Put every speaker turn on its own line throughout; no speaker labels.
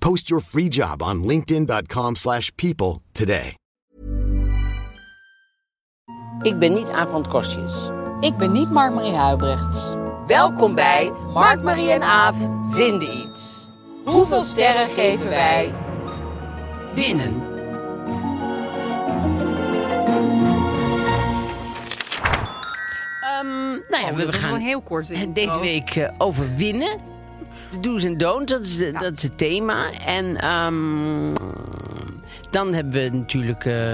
Post your free job on linkedin.com/people slash people today.
Ik ben niet Aaf van Kostjes.
Ik ben niet Mark-Marie Huibrechts.
Welkom bij Mark, Marie en Aaf vinden iets. Hoeveel sterren geven wij binnen? Ehm nou ja, we, we
dat is wel
gaan
heel kort. de
het
intro.
deze week eh, over winnen. De do's en don'ts, dat is, de- dat is het thema. En ehm, dan hebben we natuurlijk eh, het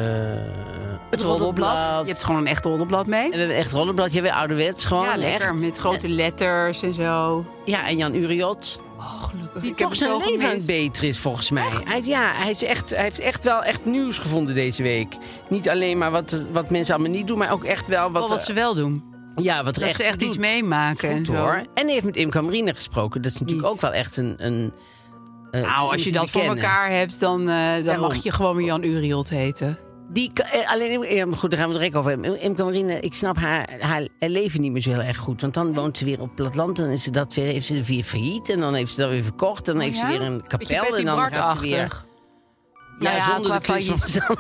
Het roddelblad.
roddelblad.
Je hebt gewoon een echt roddelblad mee.
En we hebben echt roddelblad. Jij bent ouderwets gewoon.
ja, lekker.
echt.
Met grote letters en zo.
Ja, en Jan Uriot.
Oh, gelukkig.
Die
Ik heb
toch
hem
zijn
zo
leven aan het
gemist.
beter is, volgens mij. Hij, ja, hij, is echt, hij heeft echt wel echt nieuws gevonden deze week. Niet alleen maar wat, wat mensen allemaal niet doen, maar ook echt wel wat,
Wel Oh, wat ze wel doen.
eh, ja, wat er
Dat
echt
ze echt iets
doet.
meemaken en
Goed,
zo.
hoor. En hij heeft met Imke Marine gesproken. Dat is natuurlijk ook wel echt een... een eh,
Nou,
iemand
als je
die
dat
we
voor
kennen.
elkaar hebt, dan, eh, dan
Daarom.
mag je gewoon weer Jan Uriot heten.
Die, ka- eh, alleen, Im- ja, maar goed, daar gaan we het direct over hebben. Imke Marine, ik snap haar, haar leven niet meer zo heel erg goed. Want dan woont ze weer op het platteland. Dan is ze dat weer, heeft ze weer failliet. En dan heeft ze dat weer verkocht. Dan heeft
Oh ja?
ze weer een
Beetje
kapel.
Betty
en dan gaat ze
Bart-achtig.
weer... Ja,
Nou ja,
zonder de
qua
Christmas. ja, dat,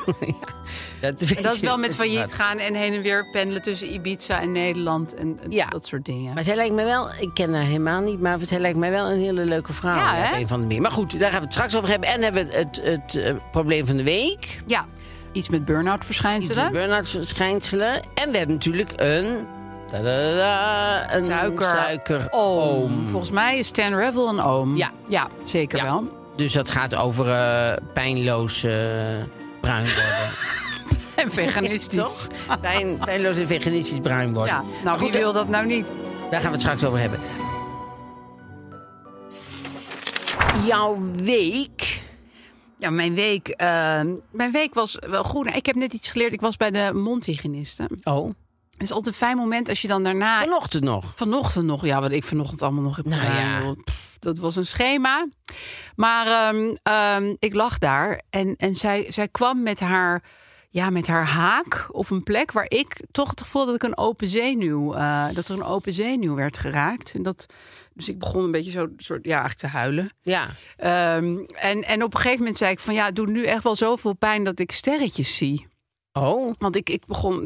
weet
Dat is
je.
wel met failliet
Wat.
gaan en heen en weer pendelen tussen Ibiza en Nederland en en
Ja.
dat soort dingen.
Maar zij lijkt mij wel, ik ken haar helemaal niet, maar zij lijkt mij wel een hele leuke vrouw.
Ja, hè?
op een van de meer. Maar goed, daar gaan we het straks over hebben. En hebben we het, het, eh, probleem van de week.
Ja, iets met burn-out
Iets
verschijnselen.
met burn-out verschijnselen. En we hebben natuurlijk een. tadadada, een
Suiker. Oh.
suikeroom.
Volgens mij is Stan Revel een oom.
Ja.
ja zeker
Ja.
wel.
Dus dat gaat over eh, pijnloos eh, bruin worden.
En veganistisch.
Toch? Pijn, pijnloos en veganistisch bruin worden.
Ja,
Maar
nou wie
eh,
wil dat nou niet?
Daar gaan we het straks over hebben. Jouw week.
Ja, mijn week, eh, mijn week was wel goed. Nou, Ik heb net iets geleerd. Ik was bij de mondhygiëniste.
Oh,
Het is altijd een fijn moment als je dan daarna...
vanochtend nog.
Vanochtend nog, ja, wat ik vanochtend allemaal nog heb
Nou
gedaan.
ja.
joh. Pff, dat was een schema. Maar ehm, ehm, ik lag daar en, en zij, zij kwam met haar, ja, met haar haak op een plek waar ik toch het gevoel dat ik een open zenuw, eh, dat er een open zenuw werd geraakt. En dat, dus ik begon een beetje zo, soort, ja, eigenlijk te huilen.
Ja.
Ehm, en, en op een gegeven moment zei ik van ja, het doet nu echt wel zoveel pijn dat ik sterretjes zie.
Oh,
Want ik, ik begon,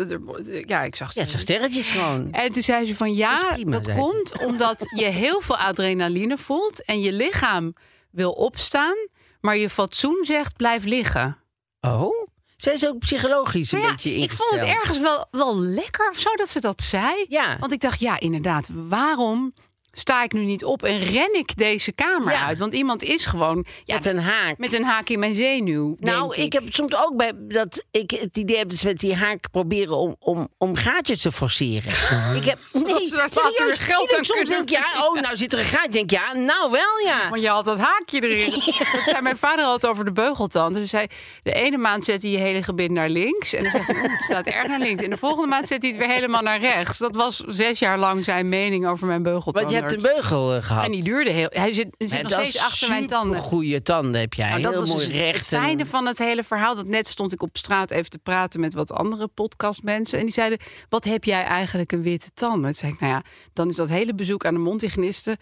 ja, ik zag
ja, het zijn
sterretjes.
sterretjes gewoon.
En toen zei ze van
Dat
ja,
is prima,
dat,
zei ze.
komt omdat je heel veel adrenaline voelt en je lichaam wil opstaan, maar je fatsoen zegt blijf liggen.
Oh, zijn ze ook psychologisch een
Maar ja,
beetje
ik
ingesteld?
vond het ergens wel, wel lekker of zo dat ze dat zei.
Ja.
Want ik dacht, ja, inderdaad, waarom sta ik nu niet op en ren ik deze kamer
Ja.
uit? Want iemand is gewoon ja,
Met een haak.
met een haak in mijn zenuw.
nou,
denk
ik. heb soms ook bij dat ik het idee heb dat ze met die haak proberen om, om, om gaatjes te forceren. ik heb nee,
Dat ze daar later
serieus,
weer geld
ik denk
aan
soms
kunnen
denk ik, ja, oh, nou zit er een gaatje. Denk ik, ja, nou wel ja.
Want je had dat haakje erin. Dat zei mijn vader altijd over de beugeltand. Dus hij zei, de ene maand zet hij je hele gebit naar links. En dan zegt hij, "Oeh, het staat erg naar links. En de volgende maand zet hij het weer helemaal naar rechts. Dat was zes jaar lang zijn mening over mijn beugeltand.
Want je hebt een beugel eh, gehad.
En die duurde heel... Hij zit, zit nog steeds achter mijn tanden.
Goede tanden heb jij.
Nou,
Heel
dat was
mooi
dus het-
recht.
het
en-
fijne van het hele verhaal. Dat net stond ik op straat even te praten met wat andere podcastmensen. En die zeiden, wat heb jij eigenlijk een witte tand? Toen zei ik, nou ja, dan is dat hele bezoek aan de mondhygiëniste...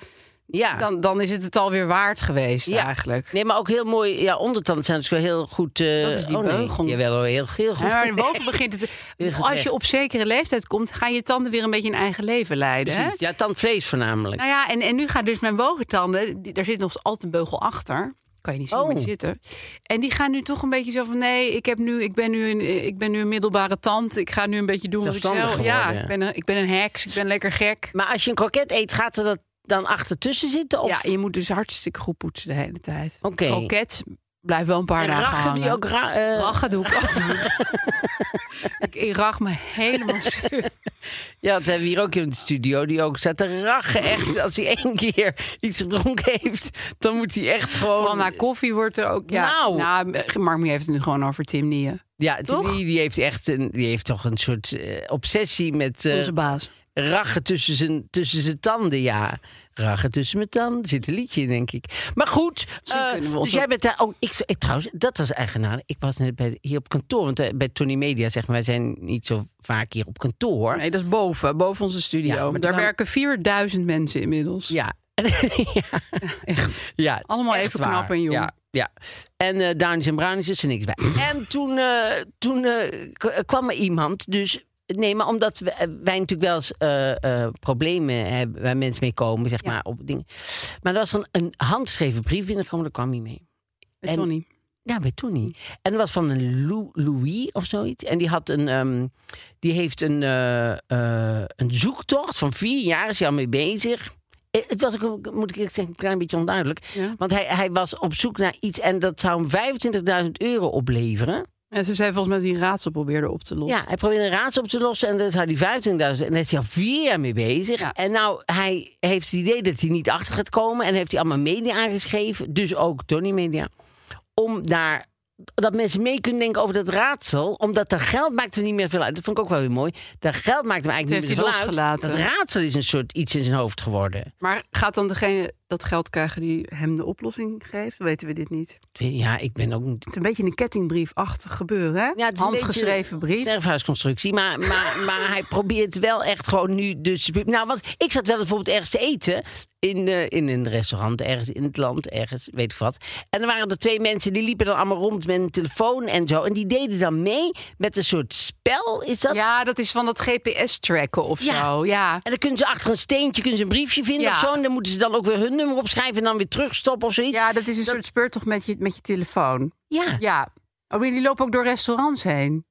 ja.
Dan, dan is het het alweer waard geweest
Ja.
eigenlijk.
Nee, maar ook heel mooi. Ja, ondertanden zijn dus wel heel goed. eh,
Dat is die
oh, nee.
beugel.
Jawel, hoor, heel, heel goed.
Ja, maar boven begint het.
Heel goed
Als
recht.
je op zekere leeftijd komt, gaan je tanden weer een beetje een eigen leven leiden. Hè?
Precies. Ja, tandvlees voornamelijk.
Nou ja, en, en nu gaan dus mijn wogentanden, die- daar zit nog altijd een beugel achter. kan je niet zien
Oh.
maar die zitten. En die gaan nu toch een beetje zo van... nee, ik, heb nu, ik, ben, nu een, ik ben nu een middelbare tand. Ik ga nu een beetje doen wat ik
Zelfstandig
zelf... Ja,
geworden.
ik ben, een, ik ben een heks. Ik ben lekker gek.
Maar als je een kroket eet, gaat er dat dan achter tussen zitten? Of...
Ja, je moet dus hartstikke goed poetsen de hele tijd.
Oké.
Kroket blijft wel een paar
en
dagen
rachen die
hangen.
ook... Ra eh,
Rachen doe ik ook. ik, ik rach me helemaal suf.
Ja, dat hebben we hier ook in de studio. Die ook staat te rachen. Echt, als hij één keer iets gedronken heeft, dan moet hij echt gewoon...
Vooral na koffie wordt er ook... Ja,
Oh, Nou.
Mark Mee heeft het nu gewoon over Tim Nieuwen.
Ja,
Toch?
Die, die heeft echt een, die heeft toch een soort eh, obsessie met eh,
Onze baas.
rachen tussen zijn, tussen zijn tanden. Ja, rachen tussen mijn tanden. Er zit een liedje in, denk ik. Maar goed,
Misschien
eh,
kunnen we
dus
ons
jij
ook-
bent daar... Oh, ik, ik- trouwens, dat was eigenaardig. Ik was net bij, hier op kantoor, want eh, bij Tony Media, zeg maar, wij zijn niet zo vaak hier op kantoor.
Nee, dat is boven. Boven onze studio.
Ja, maar
Daar
dan-
werken 4000 mensen inmiddels.
Ja. ja.
Echt.
Ja,
Allemaal
echt
even
waar.
knap en jong.
Ja, ja. En eh Downies en Brownies is er niks bij. en toen, eh, toen eh, k- eh, kwam er iemand, dus... Nee, maar omdat we- eh, wij natuurlijk wel eens eh, eh, problemen hebben waar mensen mee komen, zeg maar, op dingen. Maar er was dan een handgeschreven brief binnengekomen, daar kwam hij mee.
Met
En-
Johnny.
Ja, bij Tony. En dat was van een Lou- Louis of zoiets. En die had een, ehm, die heeft een, eh, eh, een zoektocht van vier jaar is hij al mee bezig. Eh, Het was ook, moet ik eerlijk zeggen, een klein beetje onduidelijk.
Ja.
Want hij, hij was op zoek naar iets en dat zou hem 25.000 euro opleveren.
En ze zei volgens mij dat hij een raadsel probeerde op te lossen.
Ja, hij probeerde een raadsel op te lossen en daar zou hij 25.000. En daar is hij al vier jaar mee bezig.
Ja.
En nou, hij heeft het idee dat hij niet achter gaat komen. En heeft hij allemaal media aangeschreven, dus ook Tony Media. Om daar, dat mensen mee kunnen denken over dat raadsel. Omdat dat geld maakt er niet meer veel uit. Dat vond ik ook wel weer mooi. Dat geld maakt hem eigenlijk niet
Dat heeft
meer
hij
veel uit.
losgelaten.
Dat raadsel is een soort iets in zijn hoofd geworden.
Maar gaat dan degene dat geld krijgen die hem de oplossing geeft? Dan weten we dit niet. Het
Ja, ik ben ook niet...
is een beetje een kettingbriefachtig gebeuren, hè?
Ja, het is een
Handgeschreven
beetje
brief.
Sterfhuisconstructie. Maar, maar, maar hij probeert wel echt gewoon nu. Dus, nou, want ik zat wel bijvoorbeeld ergens te eten. In, eh, in een restaurant, ergens in het land, ergens, weet ik wat. En er waren er twee mensen die liepen dan allemaal rond met een telefoon en zo. En die deden dan mee met een soort spel, is dat?
Ja, dat is van dat GPS-tracken of
Ja.
zo. Ja.
En dan kunnen ze achter een steentje kunnen ze een briefje vinden
Ja.
of zo. En dan moeten ze dan ook weer hun nummer opschrijven en dan weer terugstoppen of zoiets.
ja, dat is een soort speurtocht met je, met je telefoon.
ja.
Ja. Oh, maar die lopen ook door restaurants heen.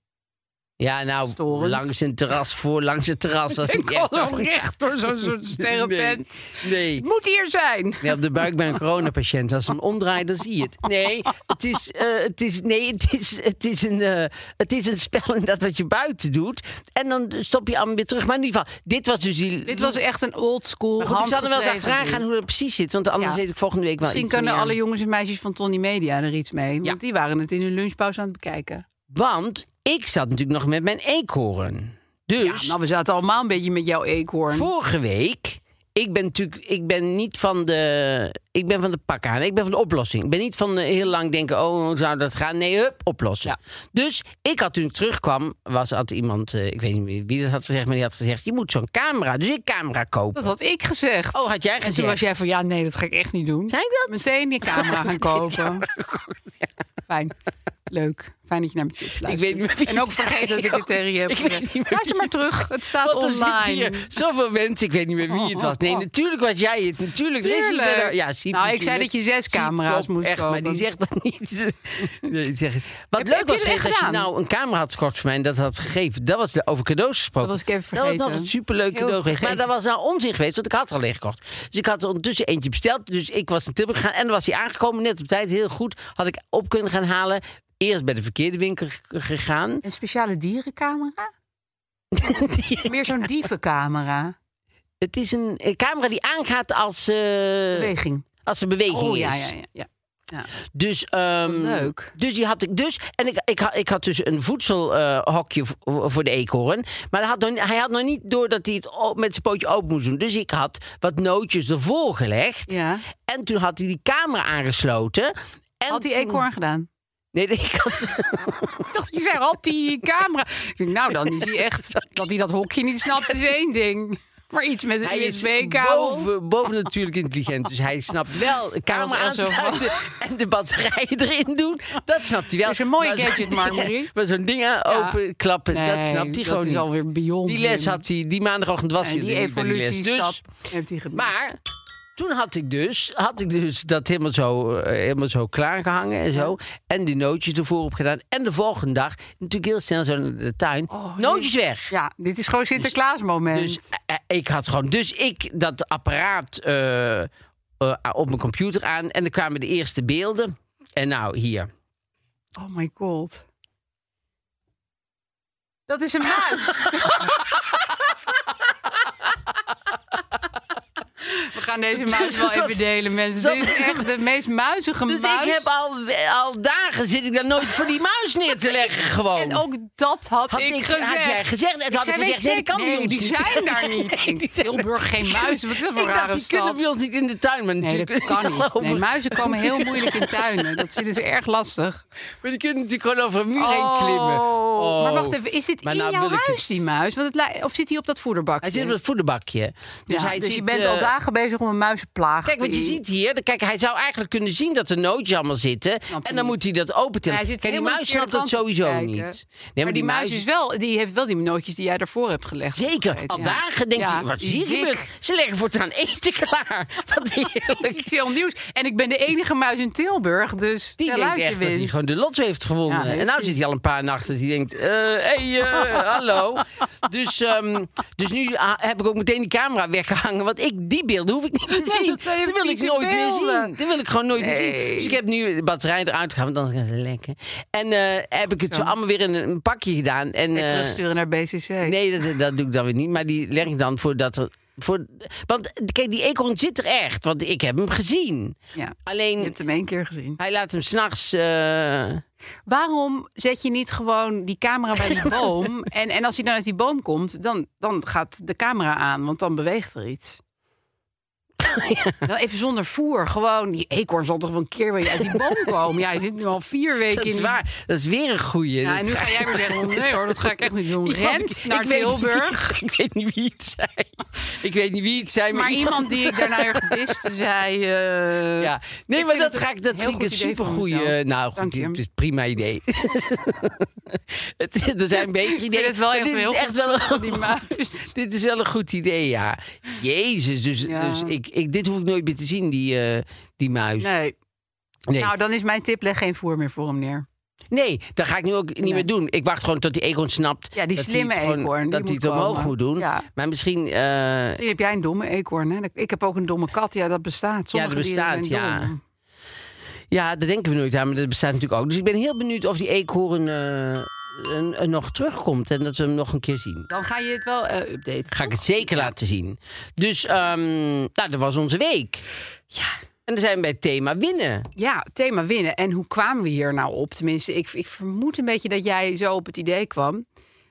Ja, nou,
Storend.
langs een terras, voor langs het terras. was niet echt
al
zo-
zo recht door zo'n soort sterrentent.
Nee. nee.
Moet hier zijn.
Nee, op de buik bij een coronapatiënt. Als ze hem omdraaien, dan zie je het. Nee, het is, eh, het is, nee, het is, het is, een, eh, het is een spel inderdaad wat je buiten doet. En dan stop je allemaal weer terug. Maar in ieder geval, dit was dus die...
Dit was echt een old school.
maar goed, ik zal er wel eens achteraan gaan
handgeschreven
hoe dat precies zit. Want anders
Ja.
weet ik volgende week wel
Misschien
iets
kunnen
meer.
alle jongens en meisjes van Tony Media er iets mee. Want
Ja.
die waren het in hun lunchpauze aan het bekijken.
Want ik zat natuurlijk nog met mijn eekhoorn. Dus...
Nou, we zaten allemaal een beetje met jouw eekhoorn.
Vorige week, ik ben natuurlijk, ik ben niet van de, ik ben van de pak aan. Ik ben van de oplossing. Ik ben niet van de heel lang denken, oh, hoe zou dat gaan? Nee, hup, oplossen. Dus ik had toen ik terugkwam, was had iemand, eh, ik weet niet meer wie dat had gezegd, maar die had gezegd, je moet zo'n camera. Dus ik camera kopen.
Dat had ik gezegd.
Oh, had jij
En
gezegd?
toen was jij van, ja, nee, dat ga ik echt niet doen.
Zei ik dat?
Meteen die camera gaan kopen. Fijn. Leuk. Fijn dat je naar me toe luistert.
Ik weet niet meer wie
En ook
het zei,
vergeet dat ik het tegen je heb
Ik weet niet meer
gezegd.
wie
Luister maar
het
terug. Het staat
Want er zitten
online. Oh,
hier zoveel mensen, ik weet niet meer wie het was. Nee, natuurlijk was jij het. Natuurlijk. Er is hier
Tuurlijk.
verder- Ja, Siep
Nou, ik zei
natuurlijk.
dat je zes
Siep
camera's
klopt,
moest
echt, maar
kopen.
die zegt dat niet. Nee, die zegt- Wat
Heb-
leuk was
heb je dat
geweest
echt
als je
gedaan?
nou een camera had gekocht voor mij en dat had gegeven. Dat was de- over cadeaus gesproken.
Dat was ik even
Dat
vergeten.
was nog een superleuk
Heel
cadeau geweest. Maar
vergeten.
dat was nou onzin geweest, want ik had het al gekocht. Dus ik had er ondertussen eentje besteld. Dus ik was naar Tilburg gegaan en dan was hij aangekomen. Net op tijd, heel goed. Had ik op kunnen gaan halen. Eerst bij de verkeerde winkel g- gegaan.
Een speciale dierencamera? Meer zo'n dievencamera.
Het is een eh, camera die aangaat als, eh,
Beweging.
als er beweging
Oh
is.
ja, ja, ja. ja. ja.
Dus, ehm,
Wat leuk.
Dus die had ik dus. En ik, ik, had, ik had dus een voedselhokje voor de eekhoorn. Maar hij had, nog, hij had nog niet door dat hij het o- met zijn pootje open moest doen. Dus ik had wat nootjes ervoor gelegd.
Ja.
En toen had hij die camera aangesloten. En
Had die
toen-
eekhoorn gedaan?
Nee, nee, ik had...
Ik dacht, je zei, had die camera. Ik denk, nou, dan is hij echt... Dat hij dat hokje niet snapt is één ding. Maar iets met een
Hij is
USB-kabel.
boven, boven natuurlijk intelligent. Dus hij snapt wel de camera
was wel zo-
aansluiten en de batterij erin doen. Dat snapt hij wel.
Dat is een mooie
Maar zo'n
gadget,
ding-
Marmarie.
Maar zo'n ding aan
Ja.
open klappen,
Nee,
dat snapt hij
dat
gewoon
is
niet.
alweer beyond
Die les
him.
had hij, die maandagochtend was
En
hij
die
er niet bij les. Dus,
evolutiestap heeft hij gemaakt.
maar toen had ik dus, had ik dus dat helemaal zo, eh, helemaal zo klaargehangen en zo. En die nootjes ervoor op gedaan. En de volgende dag, natuurlijk heel snel zo naar de tuin.
Oh,
nootjes weg.
Ja, dit is gewoon Sinterklaas moment.
Dus eh, eh, ik had gewoon. Dus ik dat apparaat eh, eh, op mijn computer aan. En dan kwamen de eerste beelden. En nou, hier.
Oh my god. Dat is een muis. We gaan deze muis wel even delen, mensen.
Dus dat-
Dit is echt de meest muizige
Dus
muis.
ik heb al, al dagen zit ik daar nooit voor die muis neer te leggen gewoon.
En ook dat had,
Had
ik,
ik-
gezegd.
had jij gezegd? En toen had ik
zei,
gezegd,
weet
nee, dat kan
je,
bij ons
die
niet.
zijn daar niet.
Nee,
In
die zijn er
Tilburg geen muizen. Wat is dat voor
ik
een
dacht,
rare
die kunnen bij
stad?
ons niet in de tuin. Maar
Nee, dat
natuurlijk
kan niet. Nee,
over-
muizen komen heel moeilijk in tuinen. Dat vinden ze erg lastig.
Maar die kunnen natuurlijk gewoon over een muur heen klimmen.
Oh,
Oh.
Maar wacht even, is dit
Maar
in
nou
jouw
wil ik
huis,
het.
die muis? Want het lij- of zit hij op dat voederbakje?
Hij zit op het voederbakje. Dus,
Ja,
hij
dus je
zit,
bent
eh,
al dagen bezig om een muizenplaag.
Kijk, wat je ziet hier. Kijk, hij zou eigenlijk kunnen zien dat er nootjes allemaal zitten.
hij
En dan
niet.
moet hij dat open tillen.
Nou, Hij zit
Kijk, die
helemaal
muis
de
snapt
verkeerde
dat
kant op te
sowieso
kijken.
niet. Nee,
maar, die muis is wel, die heeft wel die nootjes die jij daarvoor hebt gelegd.
Zeker,
opgegeten,
al
ja.
dagen denkt
Ja,
hij, wat is
die
hier
dik.
gebeurd? Ze leggen voortaan eten klaar. Wat heerlijk.
Het is heel nieuws. En ik ben de enige muis in Tilburg, dus
Die
tel
denkt
uit je
echt dat hij
winst.
gewoon de lotto heeft gewonnen.
Ja, heeft
en nou
hij.
zit hij al een paar nachten. Die denkt, eh hey, eh, hallo. Dus, ehm, dus nu ah, heb ik ook meteen die camera weggehangen. Want ik, die beelden hoef ik niet te
Ja,
zien.
dat zijn
Dat wil ik
vieze
nooit meer
beelden.
zien. Dat wil ik gewoon nooit meer zien.
Nee.
Dus ik heb nu de batterij eruit gehaald, want anders gaan ze lekker. En eh, heb ik het zo allemaal weer in een pakje gedaan. En,
En
eh,
terugsturen naar BCC.
Nee, dat, dat doe ik dan weer niet. Maar die leg ik dan voordat er... Voor, want kijk, die eekhoorn zit er echt. Want ik heb hem gezien.
Ja. Je
Alleen,
hebt hem één keer gezien.
hij laat hem s'nachts... eh
Waarom zet je niet gewoon die camera bij die boom? en, en als hij dan uit die boom komt, dan, dan gaat de camera aan, want dan beweegt er iets. Dan even zonder voer, gewoon. Die eekhoorn zal toch wel een keer weer uit die boom komen? Ja, hij zit nu al vier weken
Dat
in
is
die-
waar. Dat is weer een goeie.
Ja, en nu
Dat
ga jij weer zeggen, nee hoor, dat ga ik echt niet doen.
iemand-
Rent
ik
naar
weet niet wie-
Tilburg.
ik weet niet wie het zei. Ik weet niet wie het zei, maar,
Maar iemand die ik daarna weer gedist, zei... eh,
Ja. Nee,
ik
maar
vind
dat,
het
ga ik, dat
heel
vind ik een
goed idee van
supergoeie...
mezelf.
Nou, goed,
Dank je.
het is een prima idee. het, er zijn betere
Ik
ideeën.
vind het wel
maar
echt
dit
heel
is echt
goed
wel
van die
een,
muis.
Dit is wel een goed idee, ja. Jezus, dus,
Ja.
dus ik, ik, dit hoef ik nooit meer te zien, die, eh, die muis.
Nee.
Nee.
Nou, dan is mijn tip, leg geen voer meer voor hem neer.
Nee, dat ga ik nu ook niet meer doen. Ik wacht gewoon tot die eekhoorn snapt.
Ja, die
dat hij
slimme
het gewoon-
eekhoorn, die
Dat hij
moet
het omhoog
komen.
moet doen.
Ja.
Maar misschien. eh,
Misschien heb jij een domme eekhoorn, hè? Ik heb ook een domme kat. Ja, dat bestaat. Sommige
dat
dieren
bestaat,
zijn
ja.
dom.
ja, daar denken we nooit aan, maar dat bestaat natuurlijk ook. Dus ik ben heel benieuwd of die eekhoorn eh, een- een nog terugkomt en dat we hem nog een keer zien.
Dan ga je het wel eh, updaten.
Ga ik het zeker laten zien. Dus, ehm, nou, dat was onze week. Ja. En dan zijn we bij het thema winnen.
Ja, thema winnen. En hoe kwamen we hier nou op? Tenminste, ik, ik vermoed een beetje dat jij zo op het idee kwam.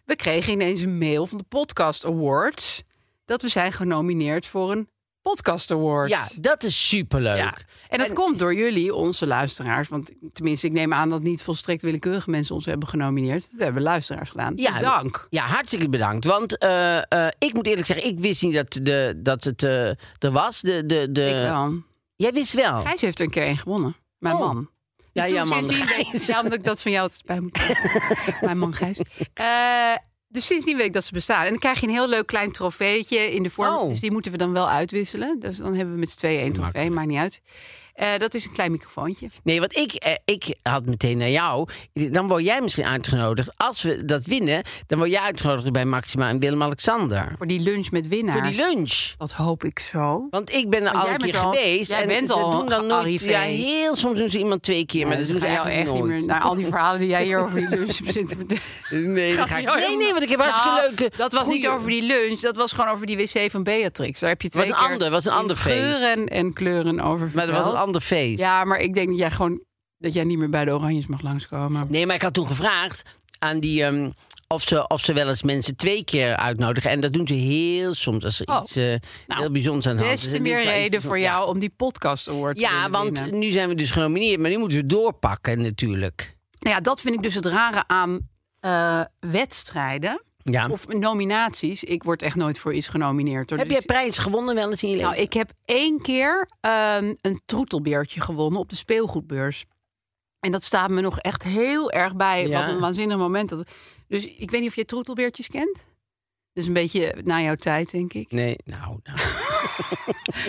We kregen ineens een mail van de Podcast Awards... dat we zijn genomineerd voor een Podcast Award.
Ja, dat is superleuk.
Ja. En dat komt door jullie, onze luisteraars. Want tenminste, ik neem aan dat niet volstrekt willekeurige mensen ons hebben genomineerd. Dat hebben luisteraars gedaan.
Eh, Ja,
dus dank.
Ja, hartstikke bedankt. Want eh, eh, ik moet eerlijk zeggen, ik wist niet dat, de, dat het eh, er was. De, de, de...
ik wel.
Jij wist wel.
Gijs heeft er een keer één gewonnen. Mijn
Oh.
man.
Ja,
Toen
ja, man,
Sindsdien weet
Gijs.
Ja, omdat ik dat van jou altijd bij moet houden. Mijn man Gijs. Eh, dus sindsdien weet ik dat ze bestaan. En dan krijg je een heel leuk klein trofeetje in de vorm.
Oh.
Dus die moeten we dan wel uitwisselen. Dus dan hebben we met z'n tweeën één trofee. Maakt niet uit. Eh, dat is een klein microfoontje.
Nee, want ik, eh, ik had meteen naar jou. Dan word jij misschien uitgenodigd. Als we dat winnen, dan word jij uitgenodigd bij Maxima en Willem-Alexander.
Voor die lunch met winnaars.
Voor die lunch.
Dat hoop ik zo.
Want ik ben er
Want
al
jij
een
bent
keer
al-
geweest.
jij
en
bent
ze
al
doen dan
een
nooit.
arrivé.
Ja, heel soms doen ze iemand twee keer, maar dat doen
ik
ze
ga jou
eigenlijk
echt niet meer Nou,
nooit.
naar al die verhalen die jij hier over die lunch zit te vertellen.
Nee, dat ga ik- nee, nee, want ik heb hartstikke
Nou,
leuke.
Dat was niet
goeie-
over die lunch, dat was gewoon over die wc van Beatrix. Daar heb je twee
Was een
keer
ander- was een
in
ander feest.
geuren en kleuren over
Maar dat was een
verteld.
ander feest.
Ja, maar ik denk dat jij gewoon dat jij niet meer bij de Oranjes mag langskomen.
Nee, maar ik had toen gevraagd aan die. ehm, of ze, of ze wel eens mensen twee keer uitnodigen. En dat doen ze heel soms als er
Oh.
iets eh,
Nou,
heel bijzonders aan de hand is.
Des te
En dit
meer
is wel iets
reden voor
bijzonders. Ja.
jou om die podcast award te
Ja,
willen
want
winnen.
nu zijn we dus genomineerd, maar nu moeten we doorpakken natuurlijk.
Nou ja, dat vind ik dus het rare aan eh, wedstrijden
Ja.
of nominaties. Ik word echt nooit voor iets genomineerd. hoor.
Heb
Dus
jij
ik-
prijs gewonnen wel eens in je leven?
Nou, ik heb één keer ehm, een troetelbeertje gewonnen op de speelgoedbeurs. En dat staat me nog echt heel erg bij.
Ja.
Wat een waanzinnig moment. Dat... Dus ik weet niet of jij troetelbeertjes kent. Dus een beetje na jouw tijd, denk ik.
Nee, nou, nou.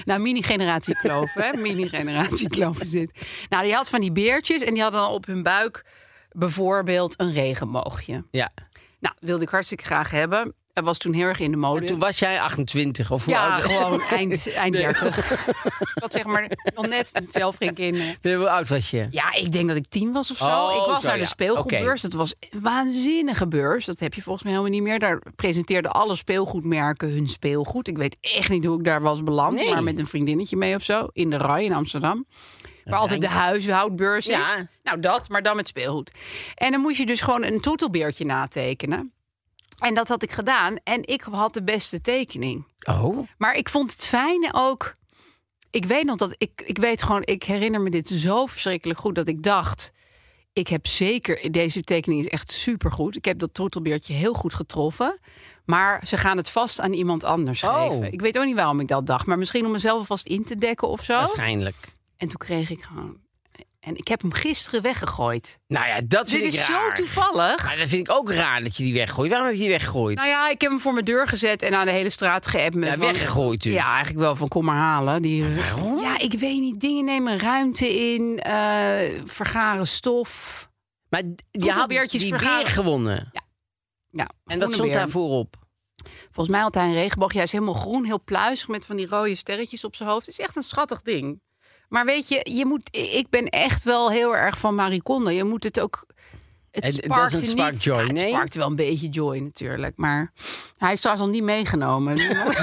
Nou, mini-generatie kloof, hè? Mini-generatie kloof is dit. Nou, die had van die beertjes en die hadden dan op hun buik bijvoorbeeld een regenboogje.
Ja.
Nou, wilde ik hartstikke graag hebben. En was toen heel erg in de mode.
En toen was jij 28 of hoe
ja,
oud?
gewoon eind, eind 30. Ik had zeg maar nog net zelf geen kinderen.
Nee, hoe oud was je?
Ja, ik denk dat ik tien was of zo.
Oh,
ik was
zo,
naar de
ja.
speelgoedbeurs. Dat was een waanzinnige beurs. Dat heb je volgens mij helemaal niet meer. Daar presenteerden alle speelgoedmerken hun speelgoed. Ik weet echt niet hoe ik daar was beland.
Nee.
Maar met een vriendinnetje mee of zo. In de Rai in Amsterdam. Waar altijd de huishoudbeurs is.
Ja.
Nou, dat, maar dan met speelgoed. En dan moest je dus gewoon een toetelbeertje natekenen. En dat had ik gedaan. En ik had de beste tekening.
Oh,
Maar ik vond het fijne ook. Ik weet nog dat ik, ik weet gewoon, ik herinner me dit zo verschrikkelijk goed dat ik dacht. Ik heb zeker, deze tekening is echt supergoed. Ik heb dat troetelbeertje heel goed getroffen. Maar ze gaan het vast aan iemand anders
Oh.
geven. Ik weet ook niet waarom ik dat dacht. Maar misschien om mezelf vast in te dekken of zo.
waarschijnlijk.
En toen kreeg ik gewoon... En ik heb hem gisteren weggegooid.
Nou ja, dat vind
Dit
ik
is
raar.
zo toevallig.
Maar dat vind ik ook raar dat je die weggooit. Waarom heb je die weggegooid?
Nou ja, ik heb hem voor mijn deur gezet en aan de hele straat geappt. met
Ja,
van-
weggegooid dus.
Ja, eigenlijk wel van kom maar halen. Die... Waarom? Ja, ik weet niet. Dingen nemen ruimte in, eh, vergaren stof.
maar je had
beertjes
die
vergaren.
beer gewonnen. En
Ja,
dat
groene
stond
beer.
daarvoor op.
Volgens mij had hij een regenboog. Juist helemaal groen, heel pluizig met van die rode sterretjes op zijn hoofd. Het is echt een schattig ding. Maar weet je, je moet, ik ben echt wel heel erg van Marie Kondo. Je moet het ook...
En
Het
dat
sparkt
is een spark
niet,
joy,
Ja, het
nee?
sparkt wel een beetje joy natuurlijk. Maar hij is trouwens al niet meegenomen. Niemand,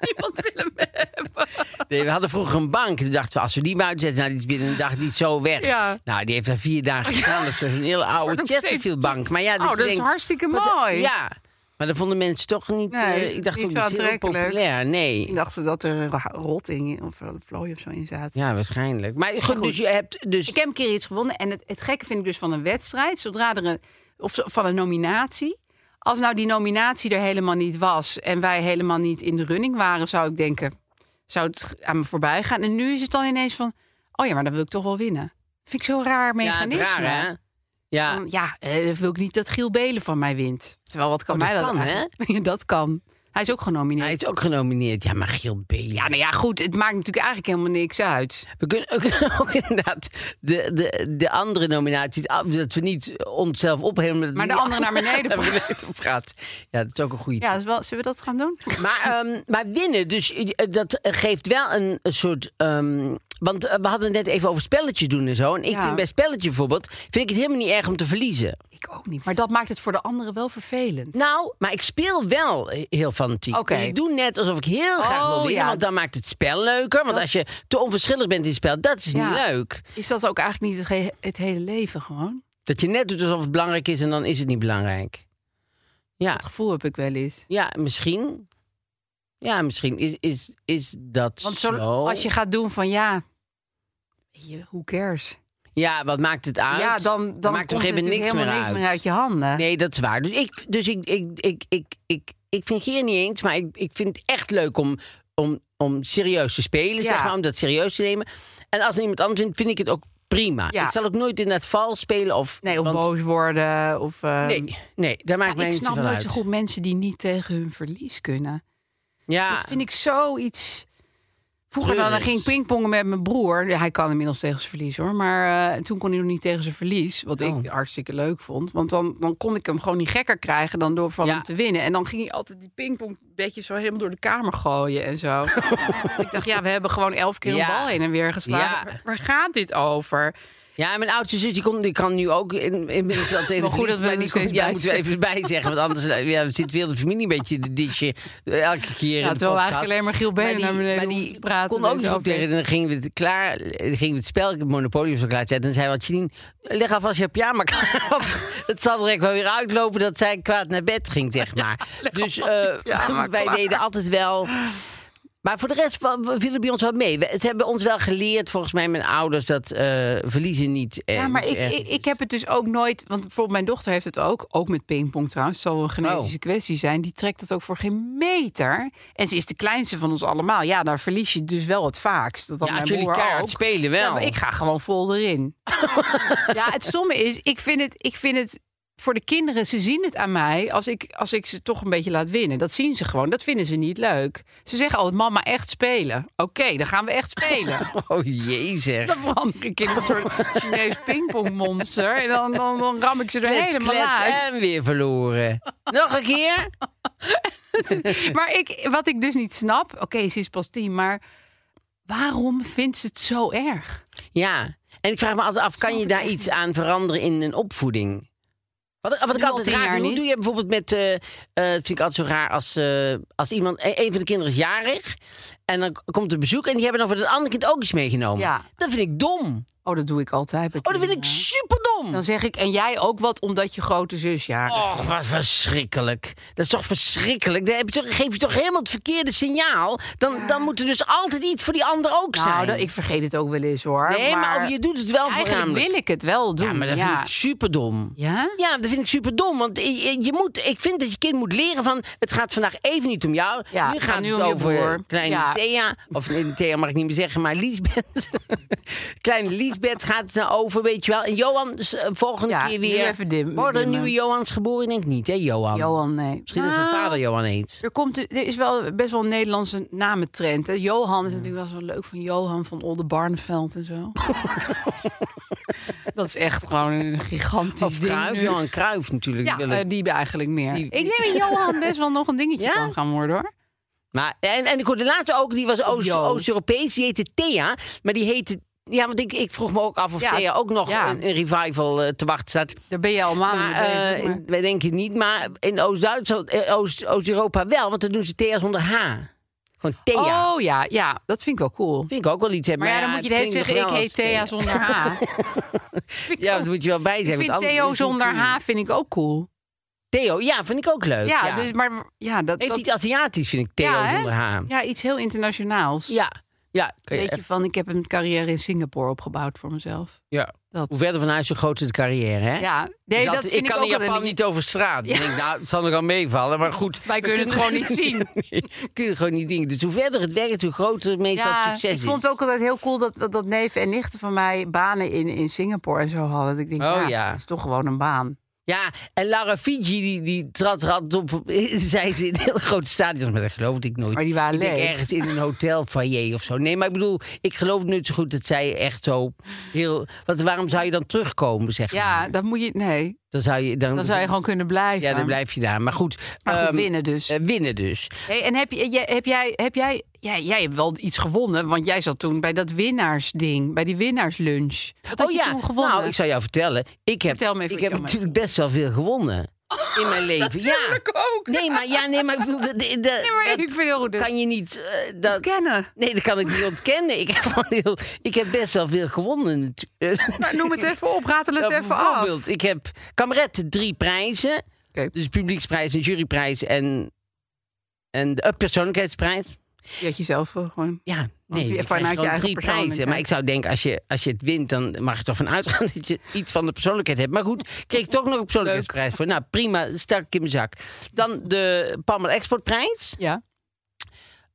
niemand wil hem hebben.
Nee, we hadden vroeger een bank. Toen dachten we, als we die buiten zetten, nou, die is binnen een dag niet zo weg.
Ja.
Nou, die heeft daar vier dagen gestaan. Dat is dus een hele
wordt
oude
ook
Chesterfield-bank. Maar ja,
Oh,
je
dat is
denkt,
hartstikke
wat-
mooi.
Ja, maar dat vonden mensen toch niet...
Nee,
eh, ik dacht,
niet
ook, dat
zo
is heel
aantrekkelijk.
populair. Nee.
Ik dacht ze dat er ro- rot in of eh, vlooi of zo in zaten.
Ja, waarschijnlijk. Maar goed, dus je hebt... Dus,
Ik heb een keer iets gewonnen. En het, het gekke vind ik dus van een wedstrijd, zodra er een, of zo- van een nominatie. Als nou die nominatie er helemaal niet was en wij helemaal niet in de running waren, zou ik denken, zou het aan me voorbij gaan. En nu is het dan ineens van, oh ja, maar dan wil ik toch wel winnen. Vind ik zo'n raar
ja, het
mechanisme.
raar, hè? Ja,
Van, ja, eh, dan wil ik niet dat Giel Belen van mij wint. Terwijl wat kan
Oh, dat
mij dat
kan, hè?
eigenlijk? Ja, dat kan. Hij is ook genomineerd.
hij is ook genomineerd. Ja, maar Giel Belen.
Ja, nou ja, goed, het maakt natuurlijk eigenlijk helemaal niks uit.
We kunnen ook, ook inderdaad de, de, de andere nominatie... dat we niet onszelf opheffen... dat
Maar de
die
andere naar beneden
naar beneden praat. Ja, dat is ook een goede
Ja, dus wel, zullen we dat gaan doen?
Maar, ehm, maar winnen, dus eh, dat geeft wel een soort. ehm, want eh, we hadden het net even over spelletjes doen en zo. En ik
Ja.
vind bij spelletjes bijvoorbeeld. vind ik het helemaal niet erg om te verliezen.
Ik ook niet. Maar dat maakt het voor de anderen wel vervelend.
Nou, maar ik speel wel eh, heel fanatiek.
Oké.
Dus ik doe net alsof ik heel graag wil
Oh,
winnen.
ja.
Want dan maakt het spel leuker. Want
Dat-
als je te onverschillig bent in het spel, dat is
Ja.
niet leuk.
Is dat ook eigenlijk niet het, ge- het hele leven gewoon?
Dat je net doet alsof het belangrijk is en dan is het niet belangrijk. Ja,
Dat gevoel heb ik wel eens.
ja misschien. Ja, misschien is, is, is dat
Want
zo.
zo, als je gaat doen van ja, weet je, who cares?
Ja, wat maakt het uit?
Ja, dan, dan
maakt
komt
op een gegeven
het
moment niks meer
helemaal
uit.
niks meer uit je handen.
Nee, dat is waar. Dus ik, dus ik, ik, ik, ik, ik, ik vind hier niet eens, maar ik, ik vind het echt leuk om, om, om serieus te spelen, zeg maar, om dat serieus te nemen. En als er iemand anders vindt, vind ik het ook prima.
Ja.
Ik zal ook nooit in dat vals spelen of.
Nee, of
want-
boos worden. Of, eh,
Nee, nee, daar maakt
ja,
mij
ik
niet
snap
zoveel
nooit
uit.
zo goed mensen die niet tegen hun verlies kunnen.
Ja,
Dat vind ik zoiets. Vroeger dan, dan
Treurigs.
ging ik pingpongen met mijn broer. Ja, Hij kan inmiddels tegen zijn verlies hoor. Maar eh, toen kon hij nog niet tegen zijn verlies. Wat
Oh.
ik hartstikke leuk vond. Want dan, dan kon ik hem gewoon niet gekker krijgen dan door van
Ja.
hem te winnen. En dan ging hij altijd die pingpongbedjes zo helemaal door de kamer gooien en zo. ik dacht, ja, we hebben gewoon elf keer
Ja.
een bal heen en weer geslagen.
Ja.
Waar- Waar gaat dit over?
ja en mijn oudste zus die, kon, die kan nu ook in, inmiddels wel tegen
Maar goed
verlies,
dat we
maar
er
die
steeds
komt- ja,
bij
moeten we even bij zeggen. Want anders eh, ja, zit weer de familie een beetje te disje eh, elke keer in
Ja,
de
terwijl we
podcast.
eigenlijk alleen maar Giel Belen naar beneden
maar
hoeven
die
te praten
kon ook
deze
niet goed tegen.
aflevering.
En dan gingen we het, klaar, eh, gingen we het spel, het Monopoly zo klaar zetten. En zei wat Janine, leg alvast je pyjama klaar. Want het zal direct wel weer uitlopen dat zij kwaad naar bed ging, zeg maar. dus eh, wij deden altijd wel... Maar voor de rest wa- wa- viel het bij ons wel mee. We- Ze hebben ons wel geleerd, volgens mij, mijn ouders, dat eh, verliezen niet. eh,
Ja, maar
niet
ik,
erg
ik,
is.
ik heb het dus ook nooit. Want bijvoorbeeld mijn dochter heeft het ook. Ook met pingpong trouwens. Het zal wel een genetische
Oh.
kwestie zijn. Die trekt het ook voor geen meter. En ze is de kleinste van ons allemaal. Ja, daar verlies je dus wel het vaakst. Dat had
Ja,
mijn
als jullie
broer
kaart
ook.
spelen wel.
Ja, maar ik ga gewoon vol erin. ja, het stomme is, ik vind het, ik vind het voor de kinderen, ze zien het aan mij als ik, als ik ze toch een beetje laat winnen. Dat zien ze gewoon, dat vinden ze niet leuk. Ze zeggen altijd, mama, echt spelen. Oké, dan gaan we echt spelen.
Oh jee zeg.
Dan verander ik in een soort Chinees pingpongmonster. En dan, dan, dan ram ik ze er
Klets,
helemaal
klets
uit.
en weer verloren. Nog een keer?
Maar ik, wat ik dus niet snap... Oké, ze is pas tien, maar waarom vindt ze het zo erg?
Ja. En ik vraag me altijd af, kan je daar iets aan veranderen in een opvoeding? Wat, ik- wat ik
Nu al
altijd
tien
raar
jaar
vind, hoe
niet.
doe je bijvoorbeeld met... eh eh, dat vind ik altijd zo raar als, eh, als iemand... eh, Een van de kinderen is jarig. En dan k- komt er bezoek en die hebben dan voor het andere kind ook iets meegenomen.
Ja.
Dat vind ik dom.
Oh, dat doe ik altijd. bij
Oh, dat vind ik
kinderen.
superdom.
Dan zeg ik, en jij ook wat omdat je grote zus jarig is.
Och, wat verschrikkelijk. Dat is toch verschrikkelijk. Dan heb je toch- geef je toch helemaal het verkeerde signaal. Dan, dan moet er dus altijd iets voor die ander ook
Nou,
zijn.
dat, ik vergeet het ook wel eens hoor.
nee, maar, of je doet het wel
Eigenlijk
voornamelijk.
wil ik het wel doen.
Ja, maar dat vind ik superdom.
Ja?
Ja, dat vind ik superdom. Want je- je, je moet, ik vind dat je kind moet leren van... het gaat vandaag even niet om jou.
Ja,
nu
het
gaat
gaat nu
het
om je
over
broer.
kleine
Ja.
Thea. Of nee, Thea mag ik niet meer zeggen, maar Liesbeth. kleine Liesbeth gaat het nou over, weet je wel. En Johan is, eh, volgende
Ja,
keer
nu
weer...
even dim-
Worden er
dimmen.
nieuwe Johans geboren? Ik denk niet, hè, Johan?
Johan, nee.
Misschien dat zijn
Nou,
vader Johan heet.
Er, komt, er is wel best wel een Nederlandse namentrend. Hè? Johan is natuurlijk wel zo leuk van Johan van Oldenbarneveld en zo. dat is echt gewoon een gigantisch
Of
ding
Kruif,
nu.
Johan Kruif natuurlijk.
Ja,
wil ik.
eh, die eigenlijk meer.
Die-
ik denk dat Johan best wel nog een dingetje
Ja?
kan gaan worden hoor.
Maar, en, en ik hoorde later ook, die was Oost-
Jo.
Oost-Europees, die heette Thea. Maar die heette... Ja, want ik, ik vroeg me ook af of
Ja,
Thea ook nog
ja. Ah,
een, een revival eh, te wachten staat.
Daar ben je al maanden
Maar,
mee
eh
bezig. maar-
in- wij denken niet, maar in Oost-Duitsland, eh, Oost- Oost-Europa wel. Want dan doen ze Thea zonder H. Gewoon Thea.
Oh ja, ja, dat vind ik wel cool.
Vind ik ook wel iets hebben.
Maar ja, dan moet je de hele tijd zeggen, ik heet Thea zonder H.
Ja, dat moet je wel bij
Ik
zeggen.
vind
want anders is
Theo
het niet
zonder
cool.
H vind ik ook cool.
Theo, ja, vind ik ook leuk.
Ja, dus maar ja, dat,
Heeft
dat-
iets Aziatisch, vind ik, Theo
ja, hè?
zonder H.
Ja, iets heel internationaals.
Ja, ja. kan je
Weet
echt-
je, van ik heb een carrière in Singapore opgebouwd voor mezelf.
ja.
Dat.
Hoe verder van huis, hoe groter de carrière, hè?
Ja, nee,
Dus
dat
altijd,
vind
ik kan
ook
in Japan
wel een beetje-
niet over straat. Ik denk, nou, het zal nog wel meevallen, maar goed.
Wij
we
kunnen het gewoon niet
Nee, we kunnen gewoon niet dingen. Dus hoe verder het werkt, hoe groter meestal het
Ja,
succes
ik
is.
vond het ook altijd heel cool dat, dat, dat neven en nichten van mij banen in, in Singapore en zo hadden. Dat ik denk,
Oh,
ja,
ja.
dat is toch gewoon een baan.
Ja, en Lara Fiji, die, die trad er altijd op. Zij ze in hele grote stadions, maar dat geloofde ik nooit.
Maar die waren
ik denk
leeg.
ergens in een hotel foyer of zo. Nee, maar ik bedoel, ik geloof niet zo goed dat zij echt zo heel... Want waarom zou je dan terugkomen, zeg
Ja,
maar?
dat moet je... Nee,
Dan zou je, dan,
dan zou je gewoon kunnen blijven.
Ja, dan blijf je daar. Maar goed,
Maar goed,
ehm,
winnen dus.
eh, winnen dus.
Hey, en heb, je, jij- heb jij, heb jij, jij, jij hebt wel iets gewonnen, want jij zat toen bij dat winnaarsding, bij die winnaarslunch. Wat had je toen gewonnen?
Nou, ik zou jou vertellen. Ik heb,
Vertel me even
ik heb
wat je allemaal Oh,
natuurlijk best wel veel gewonnen in mijn leven.
natuurlijk
ja.
ook.
Nee, maar, ja, nee, maar ik bedoel, dat- dat-
maar
dat
ik vind heel goed dit.
kan je niet... eh, dat,
kennen.
Nee, dat kan ik niet ontkennen. Ik heb, gewoon heel, ik heb best wel veel gewonnen. natu- eh,
Maar Nou, noem het even op, ratel het
nou,
even af.
bijvoorbeeld, ik heb Kamerette drie prijzen.
Oké.
Dus publieksprijs en juryprijs en, en de persoonlijkheidsprijs.
Je had jezelf wel gewoon.
Ja,
Want
nee,
je-
je
vanuit
krijgt
je
gewoon
eigen
drie prijzen.
persoonlijkheid.
Maar ik zou denken, als je, als je het wint, dan mag je toch van uitgaan dat je iets van de persoonlijkheid hebt. Maar goed, kreeg ik toch nog een persoonlijkheidsprijs voor. Nou, prima, stak ik in mijn zak. Dan de Palmer Exportprijs.
Ja.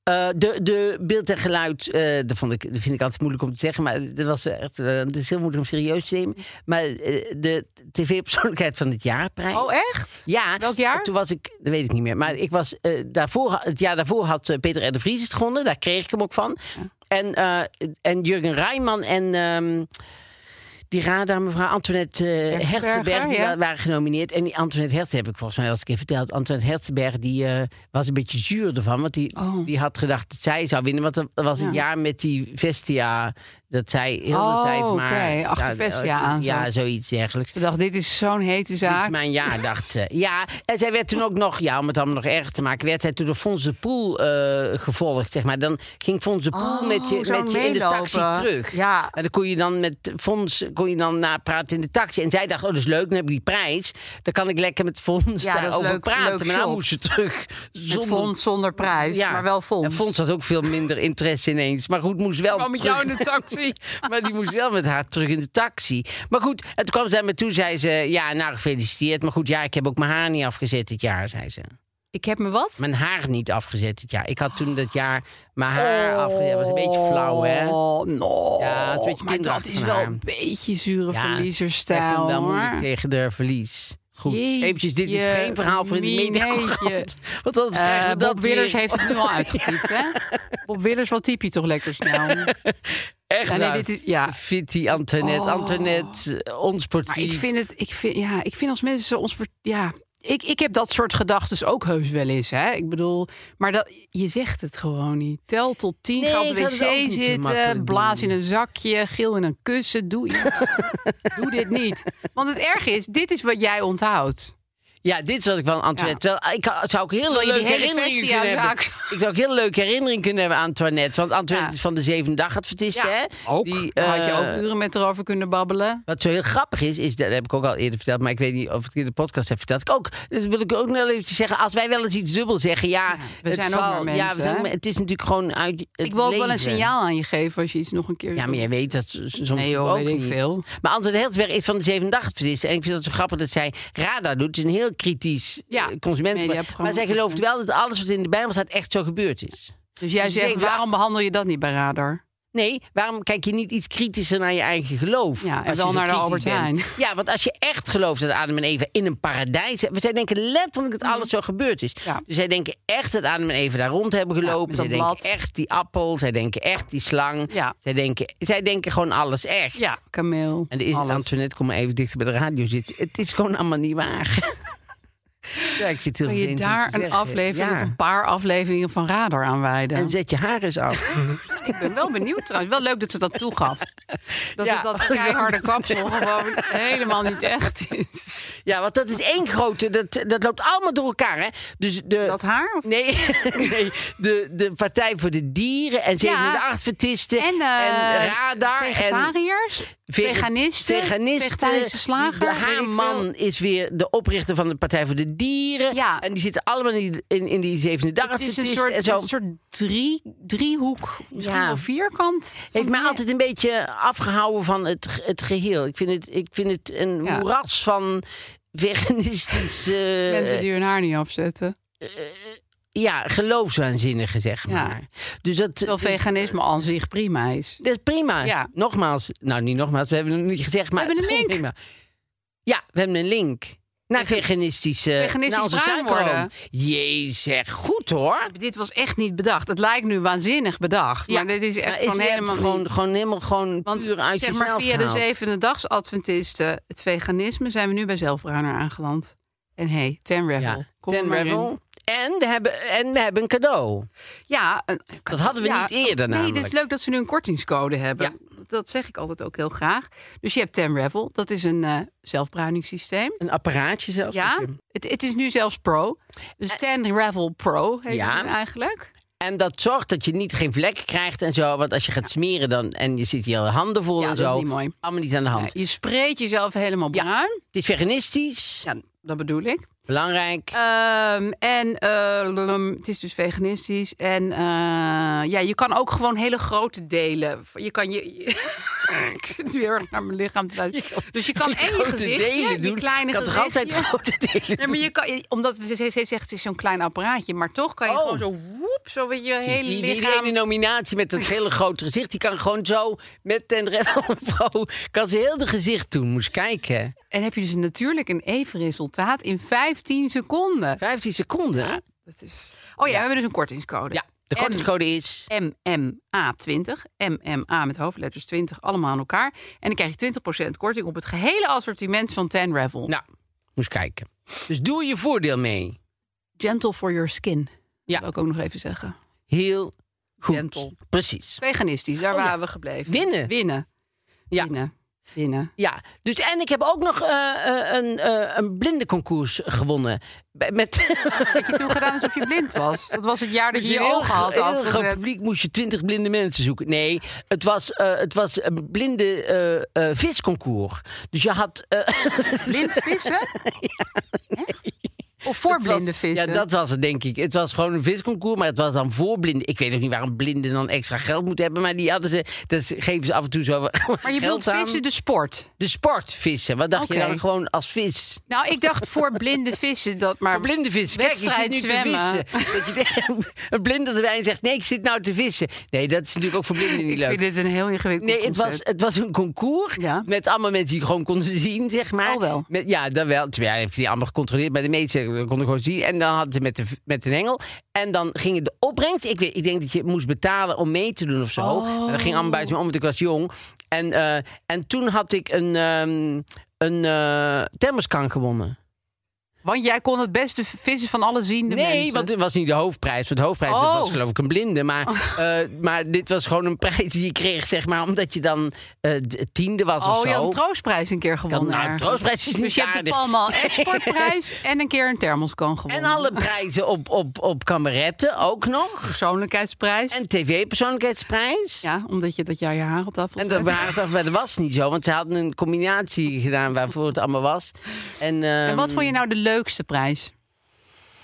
Eh, de, de beeld en geluid, eh, dat, vond ik, dat vind ik altijd moeilijk om te zeggen. Maar dat was echt, eh, het is heel moeilijk om serieus te nemen. Maar eh, de tv-persoonlijkheid van het jaarprijs.
Oh, echt?
Ja.
Welk jaar?
En Toen was ik, dat weet ik niet meer. Maar ik was, eh, daarvoor, het jaar daarvoor had eh, Peter R. de Vries het gewonnen. Daar kreeg ik hem ook van. En, eh, en Jurgen Rijman en ehm, die radar mevrouw Antoinette eh
Hertzberger,
Herzenberg, die
ja.
wa- waren genomineerd. En die Antoinette Hertz heb ik volgens mij al eens een keer verteld. Antoinette Herzenberg die eh, was een beetje zuur ervan. Want die,
Oh.
die had gedacht dat zij zou winnen. Want dat was het
Ja.
jaar met die Vestia. Dat zij heel de
Oh,
tijd maar...
oké. Achter Vestia aan
Ja,
zat.
zoiets dergelijks.
Ze dacht, dit is zo'n hete
Dit
zaak.
is mijn jaar, dacht ze. Ja, en zij werd toen ook nog, ja, om het allemaal nog erger te maken, werd zij toen door Fons de Poel eh, gevolgd, zeg maar. Dan ging Fons de Poel
Oh,
met je, met
zo
je in de taxi
meelopen.
terug.
Ja.
En dan kon je dan met Fons kon je dan napraten in de taxi. En zij dacht, oh, dat is leuk, dan heb ik die prijs. Dan kan ik lekker met Fons
Ja, dat is
daarover
leuk,
praten.
leuk
maar nou
shot.
moest ze terug
Met
zonder...
fonds zonder prijs,
Ja.
maar wel
En
fonds.
Fons had ook veel minder interesse ineens. Maar goed, moest wel
kwam met
terug.
jou in de taxi.
Maar die moest wel met haar terug in de taxi. Maar goed, en toen kwam zij me toe, zei ze... Ja, nou, gefeliciteerd. Maar goed, ja, ik heb ook mijn haar niet afgezet dit jaar, zei ze.
Ik heb me wat?
Mijn haar niet afgezet dit jaar. Ik had toen dat jaar mijn haar afgezet. Dat was een beetje flauw, hè?
Oh, no.
Ja, het is een beetje
maar dat
kinderachtig
is
van
wel
haar.
een beetje zure
Ja, zij
verliezerstijl.
kon wel
hoor.
moeilijk tegen de verlies. Goed,
Jeetje
eventjes, dit is geen verhaal voor in de
mineetje.
media. Want anders
Eh,
krijgen we dat
Bob Willers
weer.
heeft het nu al uitgetypt, hè? Bob Willers, wat typ je toch lekker snel?
Echt
Ja, nee,
waar.
dit is- ja. Oh.
Fitty, Antoinette, Antoinette, eh, onsportief.
Maar ik vind het, ik vind, ja, ik vind als mensen zo ons, ja, ik, ik heb dat soort gedachten ook heus wel eens, hè? Ik bedoel, maar dat, je zegt het gewoon niet. Tel tot tien,
Nee,
ga op
ik
de
zou het ook
wc
niet zo
zitten,
makkelijk
blaas in
doen.
een zakje, gil in een kussen, doe iets. doe dit niet, want het erg is, dit is wat jij onthoudt.
Ja, dit is wat ik van Antoinette. Terwijl, ik ha- zou ook heel
Terwijl je die
leuk
hele
herinnering
versie
kunnen
aan
hebben.
zaak-
Ik zou ook heel leuk herinnering kunnen hebben aan Antoinette. Want Antoinette
Ja.
is van de Zeven Dag Adventisten,
Ja,
hè? Die,
Daar had je
eh,
ook uren met erover kunnen babbelen.
Wat zo heel grappig is, is, dat heb ik ook al eerder verteld, maar ik weet niet of ik het in de podcast heb verteld. Ik ook, dus wil ik ook nog eventjes zeggen, als wij wel eens iets dubbel zeggen, ja,
we
het
zijn ook
zal,
maar
Ja, we
mensen,
zijn,
hè?
maar het is natuurlijk gewoon uit het
Ik wil ook wel een
leven.
signaal aan je geven als je iets nog een keer
Ja, maar
doet.
jij weet dat s- soms
Nee, joh,
ook
weet ik
niet.
veel.
Maar Antoinette Heltberg is van de Zeven Dag Adventisten. En ik vind dat zo grappig dat zij radar doet. Het is een heel kritisch
Ja,
eh, consumentenprogramma.
mediaprogramma.
Maar zij gelooft wel dat alles wat in de Bijbel staat echt zo gebeurd is.
Dus jij
Dus je
zegt,
zegt,
waarom behandel je dat niet bij Radar?
Nee, waarom kijk je niet iets kritischer naar je eigen geloof?
Ja, en
als je
wel
zo
naar de
kritisch
Albert
bent?
Heijn.
Ja, want als je echt gelooft dat Adam en Eva in een paradijs... zijn- Zij denken letterlijk dat alles zo gebeurd is.
Mhm. Ja.
Dus zij denken echt dat Adam en Eva daar rond hebben gelopen. zij
met dat
denken
blad.
echt die appel. Zij denken echt die slang.
Ja.
Zij, denken, zij denken gewoon alles echt.
Ja, kameel.
En er is
alles.
Antoinette, kom maar even dichter bij de radio zitten. Het is gewoon allemaal niet waar. ja, ik vind het heel
Kun je
vreemd om
daar
te
een
zeggen.
aflevering
Ja.
of een paar afleveringen van Radar aan wijden?
En zet je haar eens af.
Ik ben wel benieuwd trouwens. Wel leuk dat ze dat toegaf. Dat
Ja.
het dat keiharde kapsel gewoon helemaal niet echt is.
ja, want dat is één grote. Dat, dat loopt allemaal door elkaar, hè? Dus de.
Dat haar? Of...
Nee, nee de, de Partij voor de Dieren en zeven
Ja.
de Adventisten
En, eh,
Radar. en
Vegetariërs?
vege-
veganisten?
veganisten.
Vegetarische slager?
De,
weet ik
haar
veel.
man is weer de oprichter van de Partij voor de Dieren.
Ja.
En die zitten allemaal in, die- in, in die zevende dag
Het is een
Adventisten
soort,
en zo.
een soort drie, driehoek, misschien
Ja.
wel vierkant.
heeft mij altijd een beetje afgehouden van het, ge- het geheel. Ik vind het, ik vind het een
Ja.
moeras van veganistische
Mensen die hun haar niet afzetten.
ja, geloofswaanzinnigen, zeg
Ja.
maar. Dus dat,
Terwijl veganisme aan zich prima is.
dat is prima.
Ja.
Nogmaals, nou niet nogmaals, we hebben het nog niet gezegd, maar
We hebben een
het is
link.
prima. Ja, we hebben een link. Naar
Vegan-
veganistische,
Veganistisch
naar onze
bruin
suikeroom.
worden.
Jezus, zeg, goed hoor.
Dit was echt niet bedacht. Het lijkt nu waanzinnig bedacht.
Ja,
Maar dit is echt
maar
gewoon
dit
helemaal
gewoon,
niet.
gewoon helemaal gewoon
Want
puur uit
zeg maar
jezelf
via
gehaald.
de zevendedags Adventisten, het veganisme, zijn we nu bij zelfbruiner aangeland. En hey, Ten Revel.
Ja.
kom er
Ten
maar in.
Revel. En we, hebben, en we hebben een cadeau.
Ja, een-
Dat hadden we
ja, oh,
niet eerder
Nee,
namelijk.
het is leuk dat ze nu een kortingscode hebben. Dat zeg ik altijd ook heel graag. Dus je hebt Ten Revel, dat is een eh zelfbruiningssysteem.
Een apparaatje zelfs.
Ja, het, het is nu zelfs pro. Dus Ten Revel Pro heet
Eh, Ja.
het nu eigenlijk.
En dat zorgt dat je niet geen vlekken krijgt en zo. Want als je gaat smeren dan, en je zit je handen vol
Ja,
en
dat is
zo.
niet mooi.
Allemaal niet aan de hand.
Nou, Je spreekt jezelf helemaal
Ja.
bruin.
Het is veganistisch.
Ja, dat bedoel ik.
Belangrijk.
Ehm, en eh, lulum, het is dus veganistisch. En eh, ja, je kan ook gewoon hele grote delen. Je kan je. ik zit nu heel erg naar mijn lichaam te luisteren. Dus je kan en je
Grote
gezichtje,
delen
je
doen.
kleine
Ik had toch
gezichtje.
altijd grote delen
Nee, maar je kan, omdat we- ze, ze zegt het is zo'n klein apparaatje, maar toch kan je
Oh.
gewoon zo woep, zo met je
Die,
hele
die, die
lichaam.
ene nominatie met dat hele grote gezicht... die kan gewoon zo met ten revel vrouw... kan ze heel de gezicht doen. Moest kijken.
En heb je dus natuurlijk een even resultaat in 15 seconden.
15 seconden. Ja,
Dat is... Oh ja, we hebben dus een kortingscode.
de
En-
kortingscode is...
MMA20. MMA met hoofdletters 20, allemaal aan elkaar. En dan krijg je 20% korting op het gehele assortiment van Ten Revel.
Nou, moest kijken. Dus doe je voordeel mee.
Gentle for your skin.
Ja.
Dat wil ik ook nog even zeggen.
Heel goed.
Gentle.
Precies.
Veganistisch, daar
Oh ja.
waren we gebleven.
Winnen.
Winnen.
Ja.
Winnen. Winnen.
Ja, dus en ik heb ook nog eh, eh, een, eh, een blinde concours gewonnen. Bij- Met
Heb je toen gedaan alsof je blind was? Dat was het jaar dat je je
Heel
ogen had
gro- heel groot
afgezet.
publiek moest je twintig blinde mensen zoeken. Nee, het was, eh, het was een blinde eh, eh, visconcours. Dus je had... eh,
Blind vissen? Echt? Of voor
Dat was-
blinde vissen.
Ja, dat was het, denk ik. Het was gewoon een visconcours, maar het was dan voor blinden. Ik weet ook niet waarom blinden dan extra geld moeten hebben, maar die hadden ze. Dat ze- geven ze af en toe zo.
Maar je wilt vissen, de sport.
De sport vissen. Wat dacht je
Oké.
dan gewoon als vis?
Nou, ik dacht voor blinde vissen dat maar.
Voor blinde vissen. Kijk, ik zit
wedstrijd
nu
zwemmen.
te vissen. Dat je tegen een blinde erbij zegt, nee, ik zit nou te vissen. Nee, dat is natuurlijk ook voor blinden niet
Ik
leuk.
vind dit een heel ingewikkeld
Nee, het was,
concept.
het was een concours
Ja.
met allemaal mensen die ik gewoon konden zien, zeg maar.
Oh, wel.
Met, ja, dan wel. Terwijl, ja, heb je die allemaal gecontroleerd, maar de meeste konden gewoon zien. En dan hadden ze met, de, met een engel. En dan ging het de opbrengst. Ik, weet- ik denk dat je moest betalen om mee te doen of zo.
Oh.
En dat ging allemaal buiten me om, want ik was jong. En, eh, en toen had ik een, ehm een eh thermoskan gewonnen.
Want jij kon het beste vissen van alle ziende
nee,
mensen.
want het was niet de hoofdprijs. Want de hoofdprijs dat
Oh.
was geloof ik een blinde. Maar, eh, maar dit was gewoon een prijs die je kreeg, zeg maar, omdat je dan eh, d- tiende was of
Oh,
zo.
je had een troostprijs een keer gewonnen.
nou,
ergens.
troostprijs is niet
Dus je hebt de
aardig.
Palma exportprijs en een keer een thermoskan
En
gewonnen.
alle prijzen op, op, op kameretten ook nog.
persoonlijkheidsprijs.
En tv-persoonlijkheidsprijs.
Ja, omdat je dat jaar je haar had afgezet.
En dat waren het af, maar dat was niet zo. Want ze hadden een combinatie gedaan waarvoor het allemaal was. En,
En
ehm,
wat vond je nou de leukste prijs?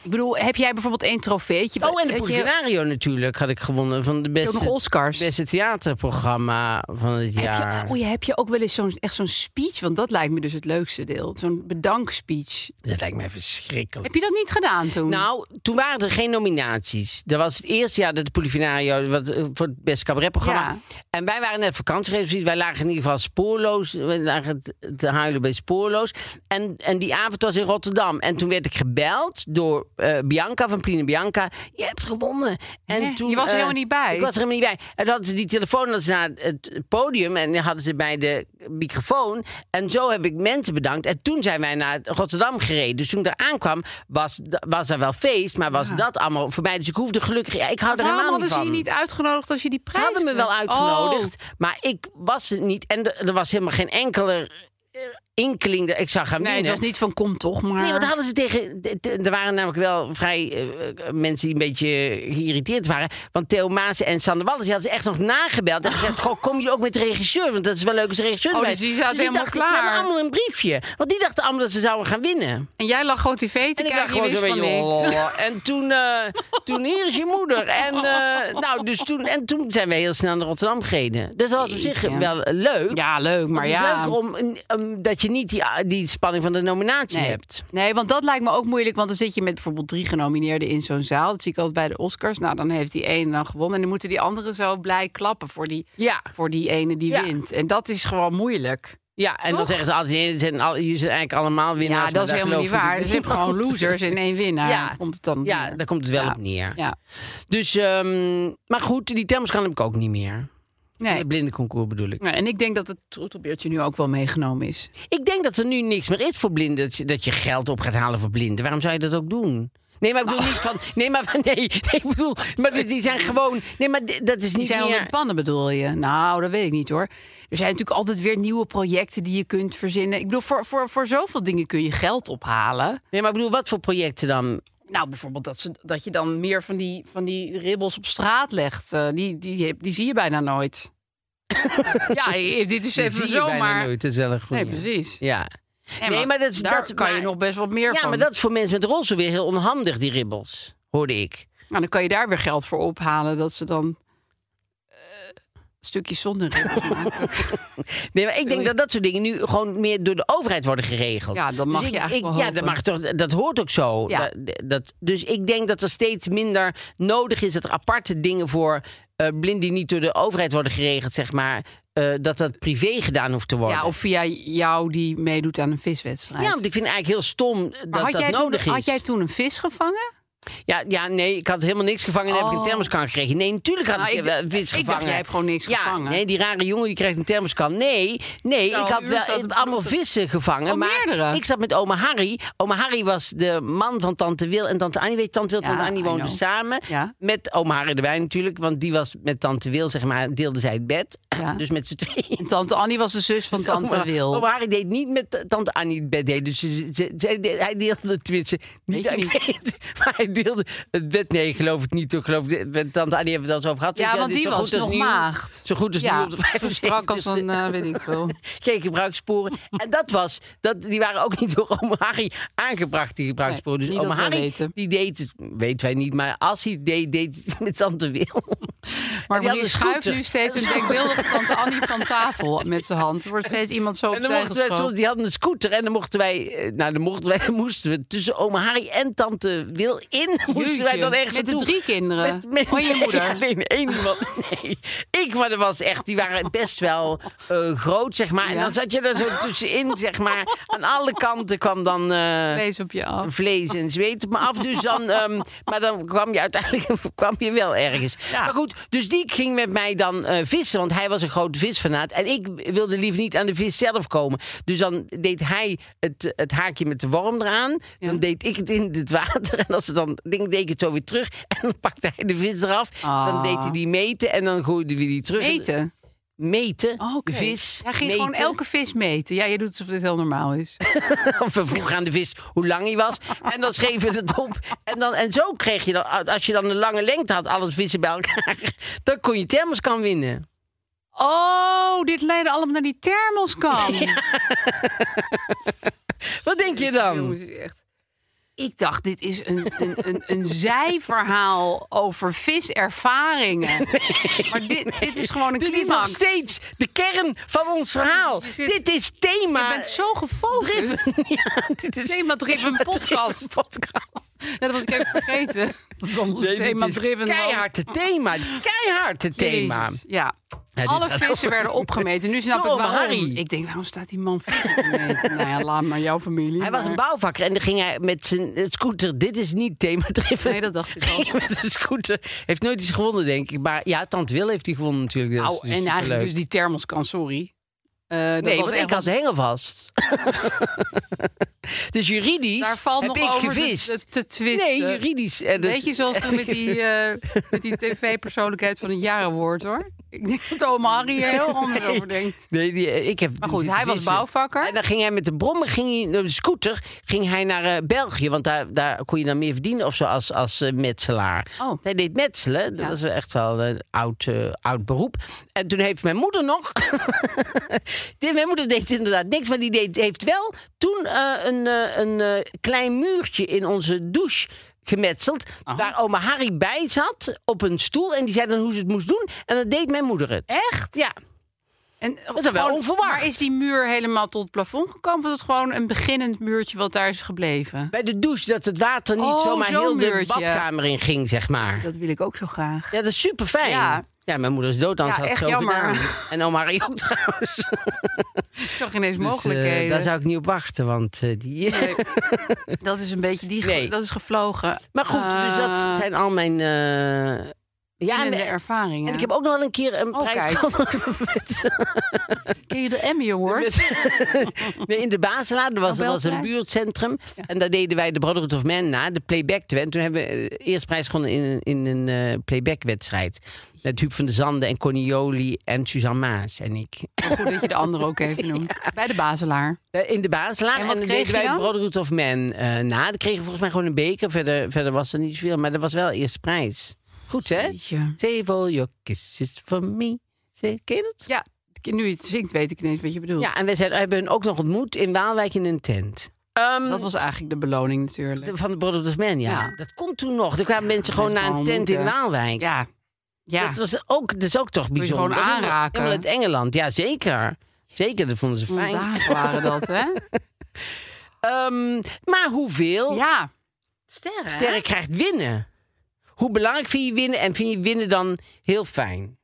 Ik bedoel, heb jij bijvoorbeeld één trofeetje?
Oh, en de
Weet je,
Poesinario natuurlijk had ik gewonnen van de
Ook nog
beste,
Oscars.
beste theaterprogramma van het jaar.
Heb je, oh, je- heb je ook wel eens zo'n echt zo'n speech? Want dat lijkt me dus het leukste deel. Zo'n bedankspeech.
Dat lijkt mij verschrikkelijk.
Heb je dat niet gedaan toen?
Nou, toen waren er geen nominaties. Dat was het eerste jaar dat de Polifinario wat, eh, voor het beste cabaretprogramma.
Ja.
En wij waren net vakantiegeefs. Wij lagen in ieder geval spoorloos. We lagen te- te huilen bij spoorloos. En, en die avond was in Rotterdam. En toen werd ik gebeld door eh, Bianca van Pline Bianca. Je hebt gewonnen. En
Hè? Je was er
eh,
helemaal niet bij.
Ik was er helemaal niet bij. En dan hadden ze die telefoon hadden ze naar het podium. En dan hadden ze bij de microfoon. En zo heb ik mensen bedankt. En toen zijn wij naar Rotterdam gereden. Dus toen ik daar aankwam, was, was er wel feest. Maar was dat allemaal voor mij. Dus ik hoefde gelukkig... Ja, ik hou er
Waarom
helemaal
hadden
niet
ze
van.
je niet uitgenodigd als je die
Ze
prijs...
hadden me wel
kreeg?
uitgenodigd,
Oh.
maar ik was het niet. En er er was helemaal geen enkele eh, inkeling dat ik zou gaan
Nee, het
winnen.
was niet van kom toch maar.
Nee, want hadden ze tegen. de- de- Er waren namelijk wel vrij eh, mensen die een beetje geïrriteerd waren. Want Theo Maas en Sander Wallis die hadden ze echt nog nagebeld. En gezegd: Goh, kom je ook met de regisseur? Want dat is wel leuk als de regisseur
Oh,
erbij
dus
is."
die zaten
dus
helemaal
dachten, "Ik heb
klaar.
allemaal een briefje. Want die dachten allemaal dat ze zouden gaan winnen.
En jij lag gewoon tv te
En
kijken,
ik dacht
je
gewoon
wist
zo
van
van,
niks.
joh. En toen, eh, toen hier is je moeder. En, eh, nou, dus toen, en toen zijn we heel snel naar Rotterdam gereden. Dus dat was op zich
Jeetje.
wel leuk.
Ja, leuk, maar
Maar het is
ja.
leuker om, om- dat je niet die, die spanning van de nominatie
Nee.
hebt.
Nee, want dat lijkt me ook moeilijk. Want dan zit je met bijvoorbeeld drie genomineerden in zo'n zaal. Dat zie ik altijd bij de Oscars. Nou, dan heeft die ene dan gewonnen. En dan moeten die anderen zo blij klappen voor die,
Ja.
voor die ene die
Ja.
wint. En dat is gewoon moeilijk.
Ja, en dan
Toch?
zeggen ze altijd, nee, het zijn al, jullie zijn eigenlijk allemaal winnaars.
ja,
maar
dat is
daar
helemaal niet
gelooft
waar. Dus je hebt
natuurlijk
gewoon
niemand.
losers en één winnaar.
Ja.
Komt het dan op
Ja,
neer.
daar komt het wel
Ja.
op neer.
Ja.
Dus, ehm, maar goed, die thermoskan heb ik ook niet meer.
Nee.
Het blinde concours bedoel ik.
Nou, en ik denk dat het troetelbeertje nu ook wel meegenomen is.
Ik denk dat er nu niks meer is voor blinden. Dat je, dat je geld op gaat halen voor blinden. Waarom zou je dat ook doen? Nee, maar ik
Oh.
bedoel niet van... Nee, maar van- nee, nee, ik bedoel... Maar die- die zijn gewoon... Nee, maar d- dat is
Die
niet
zijn al
meer...
in pannen, bedoel je? Nou, dat weet ik niet hoor. Er zijn natuurlijk altijd weer nieuwe projecten die je kunt verzinnen. Ik bedoel, voor, voor, voor zoveel dingen kun je geld ophalen.
Nee, maar ik bedoel, wat voor projecten dan?
Nou, bijvoorbeeld dat, ze, dat je dan meer van die, van die ribbels op straat legt. Eh, die, die, die, zie je bijna nooit. ja, eh, dit is
Die
even
zie je bijna
zomaar.
nooit. Dat is wel een goeie.
Nee, precies.
Ja.
Nee,
Nee, maar dat-
daar
dat-
kan je
maar-
nog best wat meer
Ja,
van.
maar dat is voor mensen met rolstoel weer heel onhandig, die ribbels. Hoorde ik.
Nou, dan kan je daar weer geld voor ophalen. Dat ze dan eh, stukjes zonder ribbels
Oh,
maken.
Nee, maar ik denk dat dat soort dingen nu gewoon meer door de overheid worden geregeld. Dus
Ja, dat mag je eigenlijk wel
Ja, dat,
hopen.
mag toch, dat hoort ook zo.
Ja.
Dat, dat- dus ik denk dat er steeds minder nodig is dat er aparte dingen voor eh blinden die niet door de overheid worden geregeld, zeg maar, eh, dat dat privé gedaan hoeft te worden.
Ja, of via jou die meedoet aan een viswedstrijd.
Ja, want ik vind het eigenlijk heel stom
Maar
dat
had,
dat
jij
nodig
toen,
is.
had jij toen een vis gevangen?
Ja, ja, nee, ik had helemaal niks gevangen en heb ik een
Oh.
thermoskan gekregen. Nee, natuurlijk had
Nou,
ik,
ik
wel
dacht-
een vis
ik dacht,
gevangen.
jij hebt gewoon niks
ja,
gevangen.
Nee, die rare jongen die krijgt een thermoskan. Nee, nee,
Nou,
ik had
een uur zat
wel
het
allemaal
bloed.
vissen gevangen.
Oh,
maar
meerdere.
ik zat met oma Harry. Oma Harry was de man van tante Wil en tante Annie. Weet je, tante Wil en
Ja,
tante Annie
I
woonden
know.
samen.
Ja.
Met oma Harry erbij natuurlijk, want die was met tante Wil, zeg maar, deelde zij het bed.
Ja.
Dus met z'n tweeën.
En tante Annie was de zus van tante
Oma-
Wil.
Oma Harry deed niet met t- tante Annie het bed delen. Dus ze- ze- zij de- hij deelde tenminste niet.
je
dat ik
niet.
weet, maar hij deelde het bed. Nee, geloof het niet. Ik geloof het, met tante Annie hebben we het al eens over gehad.
Ja,
Weet je,
want
dit is
die
zo
was
goed als
nog
nieuw.
maagd.
Zo goed als
Ja,
nieuw op de
zo strak als een, eh, weet ik veel.
Geen gebruikssporen. En dat was, dat, die waren ook niet door oma Harry aangebracht, die gebruikssporen.
Nee,
dus
niet
oma
dat we
Harry,
weten.
die deed het, weten wij niet. Maar als hij het deed, deed hij het met tante Wil.
Maar
die had
Marie
een
schuift
scooter.
nu steeds een denkbeeldige tante Annie van tafel met zijn hand. Er wordt steeds iemand zo
En dan
opzij
mochten wij, soms-
geschoven.
die hadden een scooter en dan mochten wij, eh, nou dan mochten wij, moesten we tussen oma Harry en tante Wil in, moesten wij
Jeetje,
dan ergens
met de
naartoe.
drie kinderen? Van je
nee,
moeder?
alleen één iemand. Nee, ik, maar dat was echt, die waren best wel eh, groot, zeg maar. En
Ja.
dan zat je er zo tussenin, zeg maar. Aan alle kanten kwam dan... eh,
Vlees op je af.
vlees en zweet op me af. Dus dan, ehm, maar dan kwam je uiteindelijk kwam je wel ergens. Maar goed, dus die ging met mij dan eh, vissen. Want hij was een grote visfanaat. En ik wilde liever niet aan de vis zelf komen. Dus dan deed hij het, het haakje met de worm eraan. Dan deed ik het in het water. En als ze dan ding, deed ik het zo weer terug. En dan pakte hij de vis eraf. Dan
Ah.
deed hij die meten. En dan gooide we die terug.
Meten.
Meten.
Oh, oké.
Vis.
Hij ging
meten.
gewoon elke vis meten. Ja, je doet alsof dit heel normaal is.
We vroegen aan de vis hoe lang hij was. En dan schreven we het op. En, dan, en zo kreeg je dan, als je dan een lange lengte had, alles vissen bij elkaar. Dan kon je thermoskan winnen.
Oh, dit leidde allemaal naar die thermoskan.
Wat denk je dan?
Jongens, het is echt- Ik dacht, dit is een, een, een, een zijverhaal over viservaringen. maar dit, dit is gewoon een
Dit is nog
climax.
steeds de kern van ons verhaal.
Je zit-
Dit is thema.
Je bent zo dus. gefocust.
driven. Ja, dit is
Thema Driven podcast.
podcast.
Ja, dat was ik even vergeten. Dat was ons
Nee, dit
thema
is
Driven was.
Keihard het thema. Keihard het thema.
Jezus, Ja.
dit
Alle
gaat
vissen
over-
werden opgemeten. Nu snap
Door
ik
oma
waarom.
Harry.
Ik denk, waarom staat die man vissen te meten? nou ja, laat maar jouw familie.
Hij was
maar-
een bouwvakker en dan ging hij met zijn eh, scooter. Dit is niet thema-driven.
Nee, dat dacht ik al.
Ging hij met zijn scooter. Heeft nooit iets gewonnen, denk ik. Maar ja, Tante Wil heeft hij gewonnen natuurlijk. Dat is-
Au,
dat is
en eigenlijk
superleuk.
dus die thermoskan, sorry. Eh, dat
Nee,
was
want
echt
ik had de hengel vast. dus juridisch
Daar valt
heb
nog
ik
over te-
gevist.
te- te
Nee,
twisten.
juridisch. eh, dus-
Weet je, zoals toen met die, eh, met die tv-persoonlijkheid van het jarenwoord, hoor. Ik denk dat oma Harry er heel anders over denkt.
Nee, die, eh, ik heb
Maar
toen
goed,
zitten
hij was
vissen.
bouwvakker.
En dan ging hij met de brommer, ging hij, de scooter, ging hij naar eh, België. Want daar, daar kon je dan meer verdienen of zo als, als eh, metselaar.
Oh.
Hij deed metselen. Dat
Ja.
was wel echt wel een oud, eh, oud beroep. En toen heeft mijn moeder nog... Die- mijn moeder deed inderdaad niks. Maar die deed, heeft wel toen eh, een, eh, een eh, klein muurtje in onze douche gemetseld. Waar oma Harry bij zat op een stoel. En die zei dan hoe ze het moest doen. En dat deed mijn moeder het.
Echt?
Ja.
En
is wel onverwacht.
Maar is die muur helemaal tot het plafond gekomen? Of was het gewoon een beginnend muurtje wat daar is gebleven?
Bij de douche, dat het water niet
Oh,
zomaar
zo'n
heel de
muurtje.
badkamer in ging, zeg maar.
Dat wil ik ook zo graag.
Ja, dat is super fijn. Ja.
Ja.
mijn moeder is dood aan het
Ja,
had
echt
zo
jammer.
gedaan. En oma Harry ook trouwens. Dus,
Ik zag ineens
eh,
mogelijkheden.
daar zou ik niet op wachten, want eh, die...
Dat is een beetje die... ge-
Nee.
Dat is gevlogen.
Maar goed, dus dat
Eh,
zijn al mijn... eh, Ja, en,
de ervaringen.
en ik heb ook nog wel een keer een
Oh,
prijs
kijk.
gewonnen met,
Ken je de Emmy Award?
nee, in de Baselaar, er
Oh,
was, er was een
Nobelprijs?
buurtcentrum. En daar deden wij de Brotherhood of Man na, de playback. En toen hebben we eh, eerst prijs gewonnen in, een- in een eh, playback-wedstrijd. Met Huub van der Zanden en Connie Jolie en Suzanne Maas en ik.
Goed dat je de andere ook even noemt. Bij de Bazelaar.
Eh, In de Baselaar.
En
En,
wat
dan
kreeg
deden
je
wij de
dan?
Brotherhood of Man eh na. Dan kregen we volgens mij gewoon een beker. Verder, verder was er niet zoveel. Maar dat was wel eerste prijs. Goed, hè?
Jeetje.
Save all your kisses for me. Say- Ken je dat?
Ja, nu je het zingt weet ik ineens wat je bedoelt.
Ja, en we zijn, hebben hun ook nog ontmoet in Waalwijk in een tent. Ehm,
Dat was eigenlijk de beloning natuurlijk.
de- van de Brotherhood of Man, ja.
Ja.
Dat komt toen nog. Er kwamen mensen gewoon
mensen
naar een
gewoon
tent in
ontmoeten.
Waalwijk.
Ja. Ja.
Dat was ook, dat is ook toch
je
bijzonder.
gewoon
Dat is helemaal-
aanraken.
Helemaal uit Engeland, ja zeker. Zeker, dat vonden ze fijn.
Vandaag waren dat, hè?
Ehm, maar hoeveel
Ja. Sterren.
sterren krijgt winnen? Hoe belangrijk vind je winnen en vind je winnen dan heel fijn?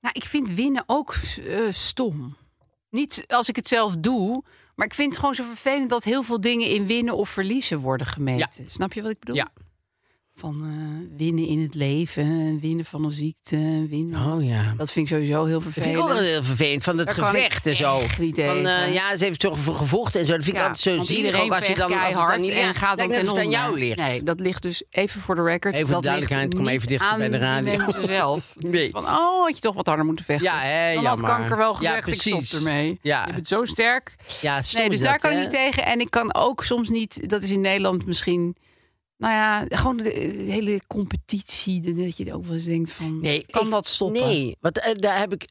Nou, ik vind winnen ook eh, stom. Niet als ik het zelf doe, maar ik vind het gewoon zo vervelend dat heel veel dingen in winnen of verliezen worden gemeten. Snap je wat ik bedoel?
Ja.
Van eh, winnen in het leven, winnen van een ziekte, winnen.
Oh ja.
Dat vind ik sowieso heel
Dat vind ik
vervelend.
ook wel heel vervelend, van het
Daar kan ik
gevecht en zo.
echt niet
van, eh,
tegen.
ja, ze heeft toch voor gevochten en zo. Dat vind ik
Ja,
altijd zo
want
zielig,
iedereen
ook als je dan,
vecht
als het dan
keihard
niet
en gaat dan
lijkt net
ten
of
onder.
het aan jou ligt.
Nee, dat ligt dus even voor de record.
Even voor
dat
de duidelijkheid,
ligt
kom
niet
even dichter
aan
bij de radio.
mensen zelf.
Nee.
Van, oh, had je toch wat harder moeten vechten.
Ja, hè,
dan had
jammer.
kanker wel
Ja,
gezegd, ik stop
precies.
ermee.
Ja.
Je bent zo sterk.
Ja, stom
Nee, dus
is
daar
dat,
kan ik
hè?
niet tegen. En ik kan ook soms niet, dat is in Nederland misschien... Nou ja, gewoon de, de hele competitie. de- Dat je ook wel eens denkt van,
Nee,
kan
ik-
dat stoppen?
Nee, want eh, daar heb ik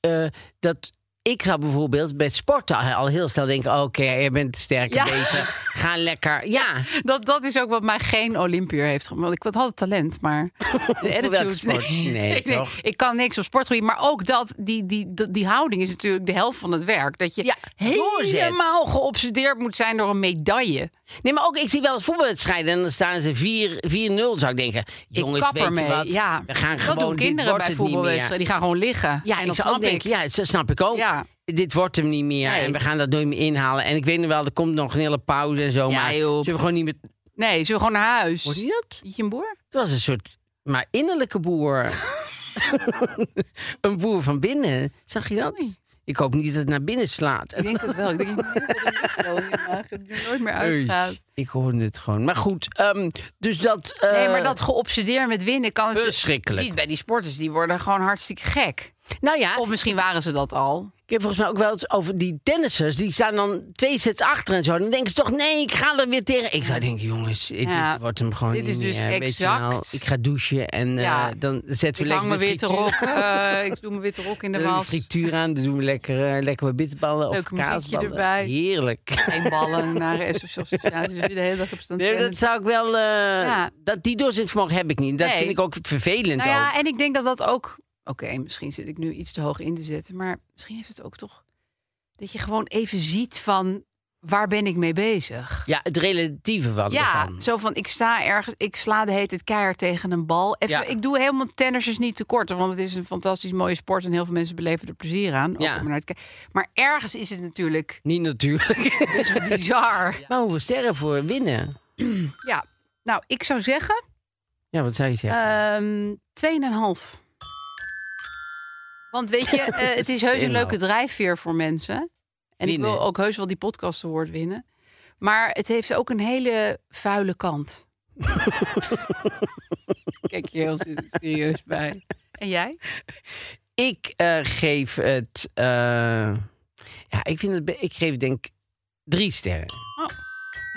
eh, eh, dat. Ik zou bijvoorbeeld bij sporten al- al heel snel denken: oh, oké, je bent sterk
Ja.
en beter. Ga lekker. Ja,
Dat, dat is ook wat mij geen Olympiër heeft gemaakt. Want ik had het talent, maar de
welke
attitude...
sport? Nee, toch?
ik kan niks op sportgebied. Maar ook dat, die, die, die, die houding is natuurlijk de helft van het werk. Dat je
Ja, doorzet.
helemaal geobsedeerd moet zijn door een medaille.
Nee, maar ook ik zie wel eens voetbalwedstrijden en dan staan ze 4-0. Zou ik denken: jongens,
ik kap
weet
ermee.
je wat?
ja.
We gaan
dat
gewoon
doen
dit
kinderen
wordt
bij
het niet meer.
voetbalwedstrijden. Die gaan gewoon liggen.
Ja,
en
ik
dat
zou ook
snap ik.
denken, ja, dat snap ik ook.
Ja.
Dit wordt hem niet meer
Nee.
en we gaan dat nooit meer inhalen. En ik weet nog wel, er komt nog een hele pauze en zo.
Ja,
maar
joh.
zullen we gewoon niet meer...
Nee, zullen we gewoon naar huis?
Hoort u dat?
Zie je een boer?
Het was een soort, maar innerlijke boer. een boer van binnen. Zag je dat? Ik hoop niet dat het naar binnen slaat.
Ik denk het wel. Ik denk dat het wel vandaag er nooit
Oei.
meer uitgaat.
Ik hoorde het gewoon. Maar goed, ehm, dus dat... eh,
Nee, maar dat geobsedeerd met winnen kan het...
Verschrikkelijk.
Je ziet bij die sporters, die worden gewoon hartstikke gek.
Nou ja,
Of misschien waren ze dat al.
ik heb volgens mij ook wel eens over die tennissers. Die staan dan twee sets achter en zo. Dan denken ze toch, nee, ik ga er weer tegen. Ik zou denken, jongens, dit-
Ja,
dit wordt hem gewoon
dit is
niet
dus
meer. Weet je
exact.
wel, Ik ga douchen en eh,
Ja.
dan zetten
Ik
we lekker
hang mijn
de
witte
frituur
rok. eh, ik doe mijn witte rok in de
Dan doen we
was.
frituur aan, dan doen we lekker, eh, lekker wat bitterballen of
Leuk muziekje
kaasballen.
erbij.
Heerlijk.
Geen ballen naar de associatie. Dus je de hele dag op stand
Nee, dat
tennis.
zou ik wel. eh,
Ja.
dat, die doorzettingsvermogen heb ik niet. Dat
Nee.
vind ik ook vervelend.
Nou ja,
ook.
en ik denk dat dat ook... Oké, misschien zit ik nu iets te hoog in te zetten. Maar misschien heeft het ook toch... Dat je gewoon even ziet van... Waar ben ik mee bezig?
ja, het relatieve van.
Ja,
ervan.
zo van ik sta ergens, ik sla de hele tijd keihard tegen een bal. Even,
Ja.
Ik doe helemaal tennissers niet tekort, want het is een fantastisch mooie sport en heel veel mensen beleven er plezier aan. ook
Ja.
om er naar te kijken. Maar ergens is het natuurlijk
Niet natuurlijk.
best wel bizar.
Maar hoeveel sterren voor winnen?
Ja, nou, ik zou zeggen
Ja, wat zou je zeggen?
ehm 2,5. Want weet je, eh, het is heus een
2,5.
leuke drijfveer voor mensen. En ik
Winnen.
wil ook heus wel die podcast award winnen. Maar het heeft ook een hele vuile kant. Kijk je heel serieus bij. En jij?
ik eh, geef het. eh, ja, ik vind het. be- Ik geef denk drie sterren.
Maar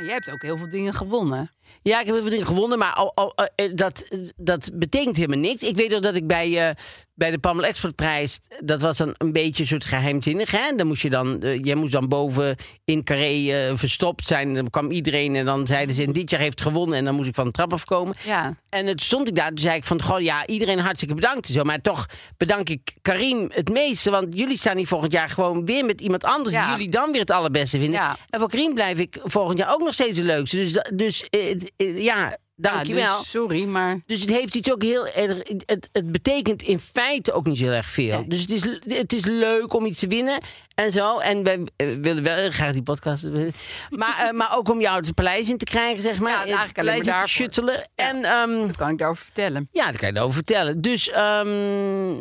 Jij hebt ook heel veel dingen gewonnen.
Ja, ik heb heel veel dingen gewonnen, maar al, al, eh, dat, dat betekent helemaal niks. Ik weet nog dat ik bij, eh, bij de Pamela Exportprijs, dat was dan een beetje een soort geheimzinnig. Hè? Dan moest je dan, eh, jij moest dan boven in Carré eh, verstopt zijn. Dan kwam iedereen en dan zeiden ze, dit jaar heeft gewonnen. En dan moest ik van de trap afkomen.
Ja.
En toen stond ik daar, toen zei ik van, goh, ja, iedereen hartstikke bedankt en zo. Maar toch bedank ik Karim het meeste, want jullie staan hier volgend jaar gewoon weer met iemand anders
Ja.
die jullie dan weer het allerbeste vinden.
Ja.
En voor Karim blijf ik volgend jaar ook nog steeds de leukste. Dus, da- dus eh, het- eh, ja, dankjewel.
Ja, dus
dus...
sorry, maar
het heeft iets ook heel erg. Het, het betekent in feite ook niet zo erg veel.
Nee.
Dus het is, het is leuk om iets te winnen en zo. En wij eh, willen wel heel graag die podcast. winnen. Maar, eh, maar ook om jou het paleis in te krijgen, zeg maar.
Ja, eigenlijk alleen
Het
maar
paleis in te shuttelen. En ehm,
dat kan ik daarover vertellen.
ja, daar kan je erover vertellen. Dus, ehm,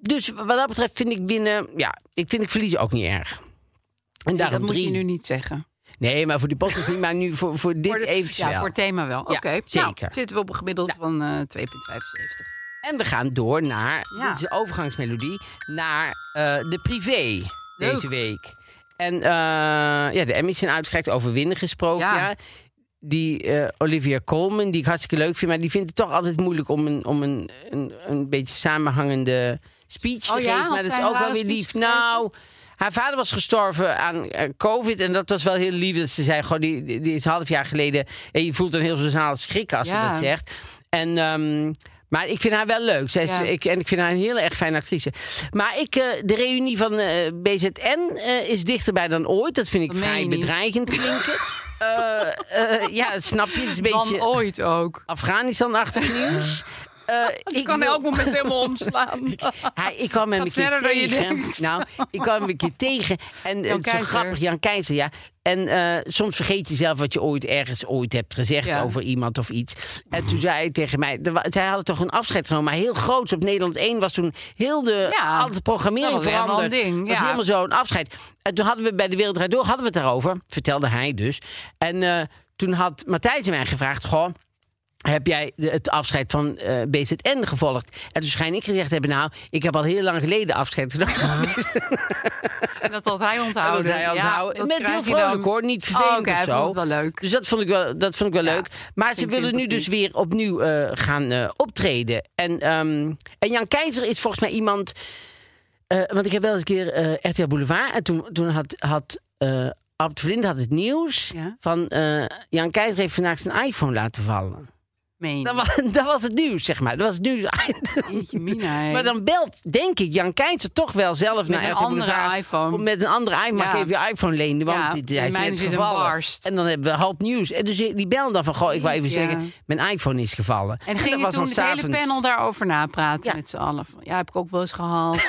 dus wat dat betreft vind ik winnen... Ja, ik vind ik verliezen ook niet erg. En
Nee, dat
daarom
moet
drie.
je nu niet zeggen.
Nee, maar voor die podcast niet. Maar nu voor, voor dit
Voor de-
eventjes
ja,
wel.
voor het thema wel. Oké,
Ja,
Nou,
zeker.
zitten we op een gemiddelde van eh 2,75.
En we gaan door naar...
Ja.
Dit is de overgangsmelodie. Naar eh, de privé
Leuk.
deze week. En eh, ja, de Emmys zijn uitgereikt over winnen gesproken.
Ja.
Ja. Die eh, Olivia Colman, die ik hartstikke leuk vind... maar die vindt het toch altijd moeilijk om een, om een, een, een beetje samenhangende speech
Oh
te
ja?
geven.
Had
Maar dat
zij
is
een
ook wel
rare
weer
speech
lief.
gegeven?
Nou, haar vader was gestorven aan eh, COVID. En dat was wel heel lief. Dat ze zei, goh, die, die die is een half jaar geleden... en je voelt een heel sociaal schrik als
Ja.
ze dat zegt. En... ehm, maar ik vind haar wel leuk. Zij is,
Ja.
ik, en ik vind haar een heel erg fijne actrice. Maar ik, eh, de reunie van eh, BZN eh, is dichterbij dan ooit. Dat vind ik
Dat meen
vrij
je niet.
bedreigend klinken. Eh, eh, ja, snap je? Het is een
Dan
beetje
ooit ook.
Afghanistan-achtig nieuws. eh,
Ik kan
wil-
elk moment helemaal omslaan.
Hij, ik kwam hem
Gaat
een keer
sneller dan je
tegen.
denkt.
Nou, ik kwam hem een keer tegen. En eh,
Jan
het is zo
Keizer.
grappig, Jan Keizer, ja. En eh, soms vergeet je zelf wat je ooit ergens ooit hebt gezegd
Ja.
over iemand of iets. En toen zei hij tegen mij, er wa- zij hadden toch een afscheid genomen, maar heel groot. Op Nederland 1 was toen heel de,
Ja.
al de programmering
Dat was helemaal
veranderd.
een ding,
was
ja.
helemaal zo'n afscheid. En toen hadden we bij de Wereld Draait Door, hadden we het daarover. Vertelde hij dus. En eh, toen had Matthijs mij gevraagd, goh, heb jij de- het afscheid van eh, BZN gevolgd? En toen schijn ik gezegd te hebben, nou, ik heb al heel lang geleden afscheid
Ah.
genomen.
En dat Oh, had hij
En
onthouden.
dat hij had
Ja,
onthouden.
dat
Met heel
krijg je
vrolijk
dan.
hoor, niet
Oh,
vervelend
oké, hij
of zo.
vond het wel leuk.
Dus dat vond ik wel, dat vond ik wel
Ja,
leuk. Maar ze
vind
willen
ik
nu dus
sympathiek.
weer opnieuw eh, gaan eh, optreden. En, ehm, en Jan Keizer is volgens mij iemand... eh, want ik heb wel eens een keer eh RTL Boulevard. En toen, toen had, had eh Abt Vlind had het nieuws
Ja.
van... eh, Jan Keizer heeft vandaag zijn iPhone laten vallen.
Meen.
Dat was, dat was het nieuws, zeg maar. Dat was het nieuws.
Jeetje, Mina, hè.
Maar dan belt, denk ik, Jan Keijzer toch wel zelf
Met
naar
een
RTL
andere
Boulevard.
iPhone.
Om Met een andere iPhone. Mag
Ja.
ik even je iPhone lenen? Want
Ja,
dit,
in
hij is
mijn
net
zit een
gevallen.
barst.
En dan hebben we hot nieuws. En dus die bellen dan van, goh, ik wil even
Jeetje.
zeggen, mijn iPhone is gevallen.
En ging
dat
je
was
toen
dan
het hele
s'avonds.
panel daarover napraten
Ja.
met z'n allen? Van, Ja, heb ik ook wel eens gehad.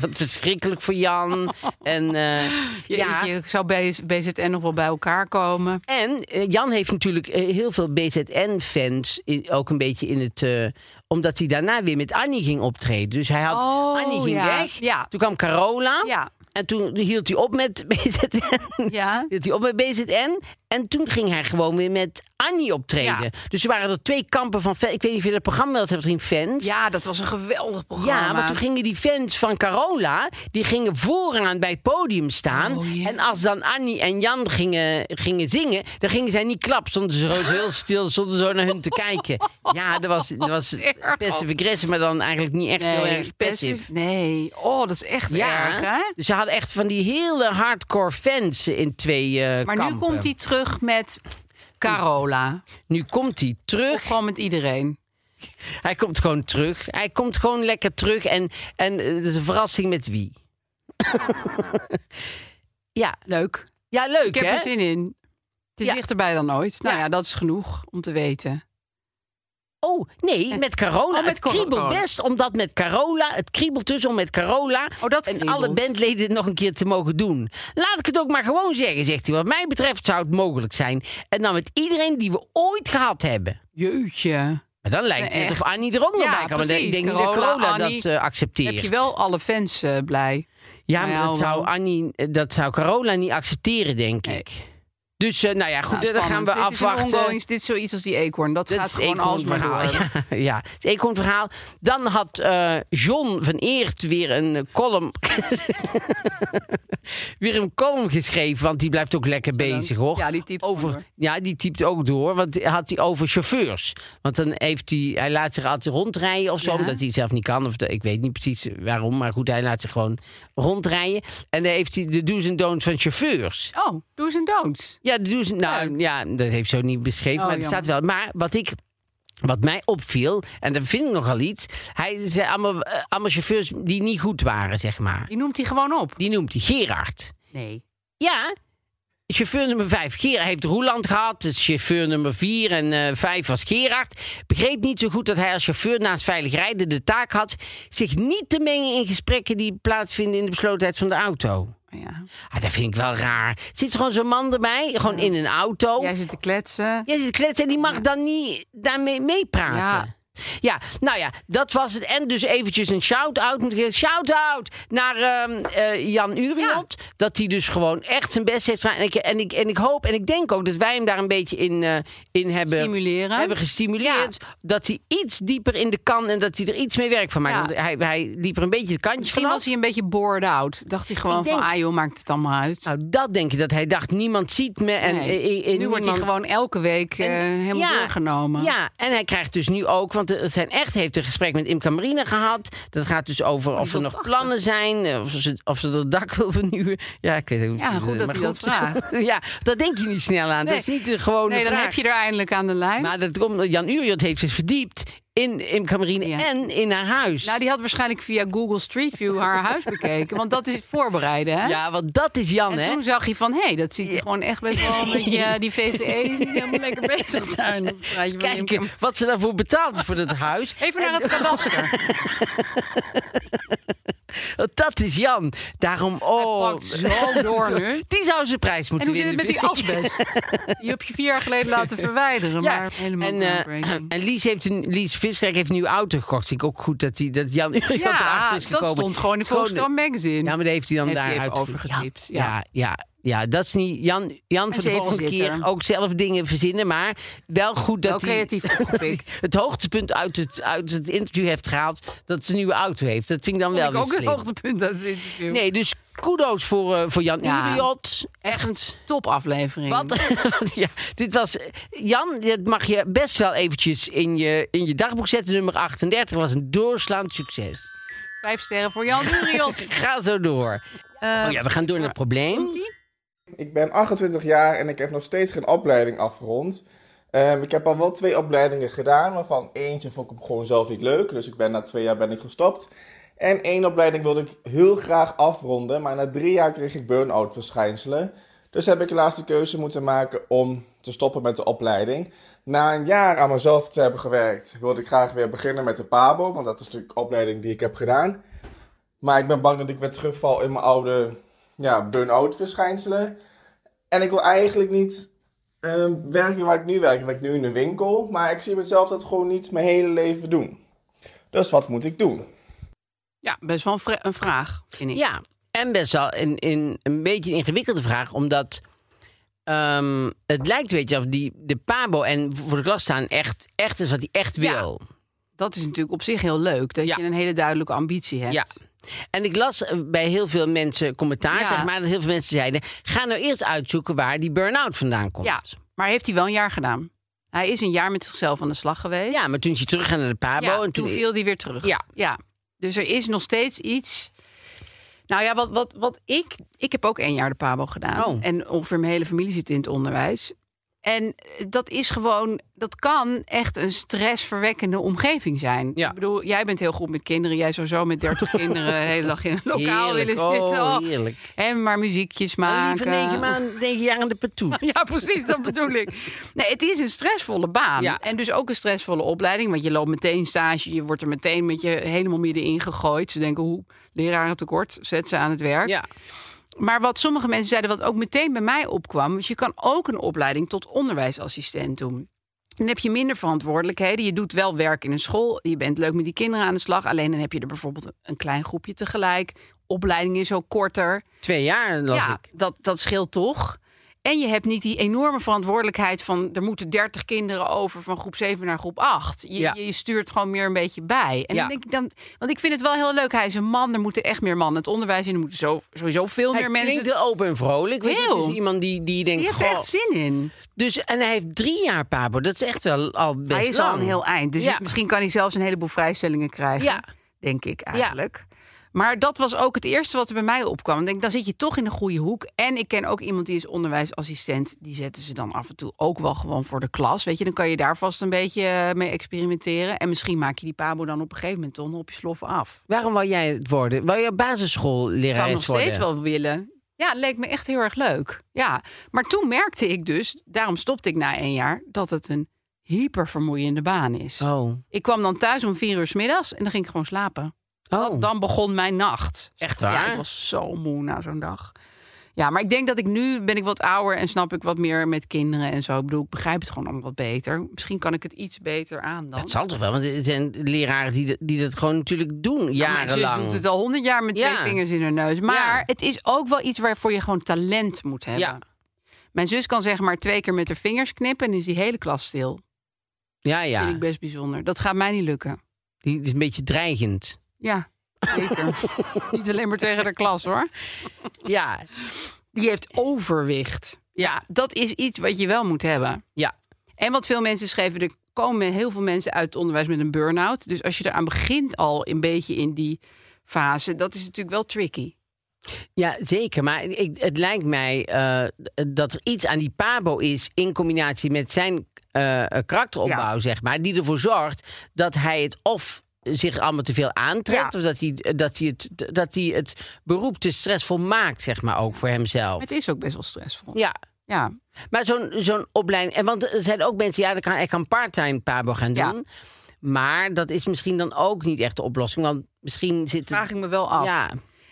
Wat verschrikkelijk voor Jan. en eh, ja,
ja. Ik zou BZ- BZN nog wel bij elkaar komen.
En eh, Jan heeft natuurlijk eh, heel veel BZN-fans in- ook een beetje in het... eh, omdat hij daarna weer met Annie ging optreden. Dus hij had...
Oh,
Annie ging
ja,
weg.
ja.
Toen kwam Carola.
Ja.
En toen hield hij op met BZN.
Ja.
Hield hij op met BZN. En toen ging hij gewoon weer met Annie optreden.
Ja.
Dus er waren er twee kampen van fans. Ik weet niet of je dat programma wel eens hebt gezien, fans.
Ja, dat was een geweldig programma.
Ja, want toen gingen die fans van Carola, die gingen vooraan bij het podium staan.
Oh,
En als dan Annie en Jan gingen, gingen zingen, dan gingen zij niet klap. Stonden ze zo heel stil, stonden zo naar hun te kijken. Ja, dat was, dat was passive aggressive, maar dan eigenlijk niet echt heel erg passive.
Nee, oh, dat is echt erg, hè?
dus ze hadden echt van die hele hardcore fans in twee eh
Maar nu
kampen.
komt hij terug met Carola.
Nu komt hij
Of
terug.
gewoon met iedereen.
Hij komt gewoon terug. Hij komt gewoon lekker terug. En, en eh, het is een verrassing met wie. ja.
Leuk.
ja, leuk
Ik heb
hè?
er zin in. Het is
Ja.
dichterbij dan ooit. Nou
Ja.
ja. dat is genoeg om te weten.
Oh, nee, met Carola.
Oh, met
het
Cor-
kriebelt
Corona.
best, omdat met Carola... Het kriebelt dus om met Carola...
Oh, dat
en
kriebelt.
alle bandleden het nog een keer te mogen doen. Laat ik het ook maar gewoon zeggen, zegt hij. Wat mij betreft zou het mogelijk zijn. En dan met iedereen die we ooit gehad hebben.
Jeutje.
Maar dan lijkt het
Nee,
net of
Eh, echt.
Annie er ook nog
Ja,
bij kan. Maar ik
precies.
denk niet dat
Carola,
Carola
Annie,
dat eh, accepteert.
Heb je wel alle fans eh, blij?
Ja,
Nou
maar
ja,
dat zou,
hoewel.
Annie, eh, dat zou Carola niet accepteren, denk
Nee.
ik. Dus eh, nou ja, goed,
Nou,
eh, dan gaan
spannend.
we
dit Is een
afwachten.
ongoing- dit is zoiets als die eekhoorn. Dat
Dit
gaat
is
gewoon
Eekhoorn
als maar door.
verhaal. Ja, ja, het is Eekhoorn verhaal. Dan had eh, John van Eert weer een eh, column... weer een column geschreven, want die blijft ook lekker bezig, hoor.
Ja, die typt gewoon
over,
door.
Ja, die typt ook door, want die had hij over chauffeurs. Want dan heeft hij... Hij laat zich altijd rondrijden of zo,
Ja.
omdat hij zelf niet kan. Of de- ik weet niet precies waarom, maar goed, hij laat zich gewoon rondrijden. En dan heeft hij de do's en don'ts van chauffeurs.
Oh, do's en don'ts.
Ja, de do's, nou,
Leuk.
ja, dat heeft zo niet beschreven,
Oh,
maar het
jammer.
staat wel. Maar wat ik... Wat mij opviel, en dat vind ik nogal iets. Hij zei allemaal, eh, allemaal chauffeurs die niet goed waren, zeg maar.
Die noemt hij gewoon op.
Die noemt hij Gerard.
Nee.
Ja, chauffeur nummer 5. Gerard heeft Roeland gehad. Dus chauffeur nummer 4 en eh 5 was Gerard. Begreep niet zo goed dat hij als chauffeur naast veilig rijden de taak had. zich niet te mengen in gesprekken die plaatsvinden in de beslotenheid van de auto.
Oh Ja.
Ah, dat vind ik wel raar. Zit gewoon zo'n man erbij, gewoon in een auto.
Jij zit te kletsen.
Jij zit kletsen en die mag dan niet daarmee meepraten. Ja.
Ja.
nou ja, dat was het. En dus eventjes een shout-out. moet ik zeggen. Shout-out naar ehm, eh, Jan Uriot. Dat hij dus gewoon echt zijn best heeft gedaan. En ik, en, ik, en ik hoop en ik denk ook dat wij hem daar een beetje in, eh, in hebben...
Stimuleren.
Hebben gestimuleerd. Dat hij iets dieper in de kan en dat hij er iets mee werk van maakt.
Ja.
Want hij, hij liep er een beetje de kantjes
Misschien
van
was hij een beetje bored out. Dacht hij gewoon
Ik denk-
van, ah joh, maakt het allemaal uit.
Nou, dat denk ik. Dat hij dacht, niemand ziet me. En,
Nee.
eh, eh, eh,
nu wordt hij
niemand-
gewoon elke week eh,
En-
helemaal doorgenomen.
Ja, en hij krijgt dus nu ook, want er zijn echt heeft een gesprek met Imca Marine gehad. Dat gaat dus over of er nog plannen zijn, eh, of ze, of ze dat dak wil vernieuwen. Ja, ik weet het niet. Eh,
Ja, goed dat
maar
hij dat vraagt.
ja, dat denk je niet snel aan. Dat
Nee.
is niet de gewone
nee, dan
vraag.
heb je er eindelijk aan de lijn.
Maar dat komt, omdat Jan Uriot heeft zich verdiept in, in Camerine
Ja.
en in haar huis.
Nou, die had waarschijnlijk via Google Street View haar huis bekeken. Want dat is het voorbereiden, hè?
Ja, want dat is Jan,
En
hè?
toen zag hij van, hé, hey, dat ziet er gewoon echt best wel een beetje... eh, die VVE is niet helemaal lekker bezig daar in dat straatje van
Kijken
Imkam.
wat ze daarvoor betaalt voor dat huis.
Even naar het kadaster.
Want Dat is Jan. Daarom, oh.
pakt zo door nu.
Die zou zijn prijs
En
moeten
hoe zit het
winnen,
met die
vind ik.
asbest? Die heb je vier jaar geleden laten verwijderen,
Ja,
maar helemaal
en, eh,
groundbreaking.
en Lies, heeft een, Lies Visserijk heeft een nieuwe auto gekocht. Vind ik ook goed dat, die, dat Jan Uriot
Ja,
erachter
dat
is gekomen.
stond gewoon in Volkskrant Magazine.
Ja, maar die heeft hij dan
Heeft hij
daar
even
uitgevoerd.
overgetypt,
Ja, ja.
ja.
ja. ja, dat is niet... Jan, Jan voor de volgende
zevenzitter.
keer ook zelf dingen verzinnen. Maar wel goed dat
Wel
hij
creatief opgepikt.
het hoogtepunt uit het, uit het interview heeft gehaald... dat ze een nieuwe auto heeft. Dat vind ik dan
Vond
wel
ik
weer
ook een
slim.
hoogtepunt dat interview.
Nee, dus kudo's voor, eh, voor Jan
Ja.
Uriot.
Echt een topaflevering.
Wat?
Mm.
ja, dit was. eh, Jan, dat mag je best wel eventjes in je, in je dagboek zetten. Nummer 38 was een doorslaand succes.
Vijf sterren voor Jan Uriot.
Ga zo door.
Eh,
oh ja, we gaan door naar het probleem.
Ik ben 28 jaar en ik heb nog steeds geen opleiding afgerond. Ehm, ik heb al wel twee opleidingen gedaan, waarvan eentje vond ik hem gewoon zelf niet leuk. Dus ik ben na twee jaar ben ik gestopt. En één opleiding wilde ik heel graag afronden, maar na drie jaar kreeg ik burn-out verschijnselen. Dus heb ik helaas de keuze moeten maken om te stoppen met de opleiding. Na een jaar aan mezelf te hebben gewerkt, wilde ik graag weer beginnen met de PABO, want dat is natuurlijk de opleiding die ik heb gedaan. Maar ik ben bang dat ik weer terugval in mijn oude ja, burn-out verschijnselen. En ik wil eigenlijk niet ehm, werken waar ik nu werk. Ik werk nu in de winkel, maar ik zie mezelf dat gewoon niet mijn hele leven doen. Dus wat moet ik doen?
Ja, best wel een, vra- een vraag, vind ik.
Ja, en best wel een, een, een beetje een ingewikkelde vraag, omdat ehm, het lijkt, weet je, of die, de Pabo en voor de klas staan echt, echt is wat hij echt
Ja.
wil.
Dat is natuurlijk op zich heel leuk, dat
Ja.
je een hele duidelijke ambitie hebt.
Ja. En ik las eh, bij heel veel mensen commentaar,
Ja.
zeg maar, dat heel veel mensen zeiden... ga nou eerst uitzoeken waar die burn-out vandaan komt.
Ja, maar heeft hij wel een jaar gedaan? Hij is een jaar met zichzelf aan de slag geweest.
Ja, maar toen is hij teruggegaan naar de Pabo.
Ja,
en
toen viel hij weer terug.
Ja.
Dus er is nog steeds iets. Nou ja, wat, wat, wat ik. Ik heb ook één jaar de Pabo gedaan.
Oh.
En ongeveer mijn hele familie zit in het onderwijs. En eh, dat is gewoon, dat kan echt een stressverwekkende omgeving zijn.
Ja.
Ik bedoel, jij bent heel goed met kinderen. Jij zou zo met 30 kinderen de hele dag in een lokaal
Heerlijk.
willen zitten.
Oh, heerlijk. eh,
En maar muziekjes maken.
Al Oh, liever negen, maanden, negen jaar aan de patoe.
Ja, precies, dat bedoel ik. Nee, het is een stressvolle baan.
Ja.
En dus ook een stressvolle opleiding. Want je loopt meteen stage, je wordt er meteen met je helemaal middenin gegooid. Ze denken, hoe, leraren tekort, zet ze aan het werk.
Ja.
Maar wat sommige mensen zeiden, wat ook meteen bij mij opkwam... was je kan ook een opleiding tot onderwijsassistent doen. Dan heb je minder verantwoordelijkheden. Je doet wel werk in een school. Je bent leuk met die kinderen aan de slag. Alleen dan heb je er bijvoorbeeld een klein groepje tegelijk. Opleiding is ook korter
Twee jaar las
ja,
ik.
Dat, dat scheelt toch. En je hebt niet die enorme verantwoordelijkheid van er moeten 30 kinderen over van groep 7 naar groep 8. Je,
Ja.
je stuurt gewoon meer een beetje bij. En
Ja.
dan denk ik dan, want ik vind het wel heel leuk. Hij is een man, er moeten echt meer mannen het onderwijs in. Er moeten zo, sowieso veel
Hij
meer mensen.
klinkt heel open en vrolijk. Weet je,
Heel.
het is iemand die, die
Die
denkt...
heeft er
goh,
echt zin in.
dus, en hij heeft drie jaar Pabo. Dat is echt wel al best
hij is
lang.
al een heel eind. Dus
Ja.
misschien kan hij zelfs een heleboel vrijstellingen krijgen.
Ja.
Denk ik eigenlijk. Maar dat was ook het eerste wat er bij mij opkwam. Ik denk, dan zit je toch in de goede hoek. En ik ken ook iemand die is onderwijsassistent. Die zetten ze dan af en toe ook wel gewoon voor de klas. Weet je, dan kan je daar vast een beetje eh, mee experimenteren. En misschien maak je die pabo dan op een gegeven moment dan op je sloffen af.
Waarom wou jij het worden? Wou je
Ik
basisschoolleraar
zou nog
worden?
steeds wel willen. Ja, leek me echt heel erg leuk. Ja, maar toen merkte ik dus, daarom stopte ik na één jaar, dat het een hypervermoeiende baan is.
Oh.
Ik kwam dan thuis om vier uur 's middags en dan ging ik gewoon slapen.
oh.
Dan begon mijn nacht.
Echt
Ja,
waar?
ik was zo moe na zo'n dag. Ja, maar ik denk dat ik nu ben ik wat ouder en snap ik wat meer met kinderen en zo. Ik bedoel, ik begrijp het gewoon allemaal wat beter. Misschien kan ik het iets beter aan dan.
Dat zal toch wel, want het zijn leraren die, dat- die dat gewoon natuurlijk doen,
Ja, mijn zus
jarenlang.
doet het al honderd jaar met twee
Ja.
vingers in haar neus. Maar
Ja.
het is ook wel iets waarvoor je gewoon talent moet hebben.
Ja.
Mijn zus kan zeg maar twee keer met haar vingers knippen en is die hele klas stil.
Ja,
Ja.
ja.
Vind ik best bijzonder. Dat gaat mij niet lukken.
Die is een beetje dreigend.
Ja, zeker. niet alleen maar tegen de klas hoor.
Ja,
Die heeft overwicht. Ja, dat is iets wat je wel moet hebben.
ja.
En wat veel mensen schreven, er komen heel veel mensen uit het onderwijs met een burn-out. Dus als je eraan begint al een beetje in die fase, dat is natuurlijk wel tricky.
Ja, zeker. Maar ik, het lijkt mij eh, dat er iets aan die Pabo is in combinatie met zijn eh, eh, karakteropbouw, zeg maar. Die ervoor zorgt dat hij het of zich allemaal te veel aantrekt...
Ja.
of dat hij, eh, dat, hij het, dat hij het beroep te stressvol maakt, zeg maar, ook voor hemzelf.
Het is ook best wel stressvol.
Ja,
Ja.
maar zo'n zo'n opleiding... En want er zijn ook mensen, ja, dan kan, ik kan part-time pabo gaan doen...
Ja.
Maar dat is misschien dan ook niet echt de oplossing. Want misschien zit
vraag ik me wel af.
Ja,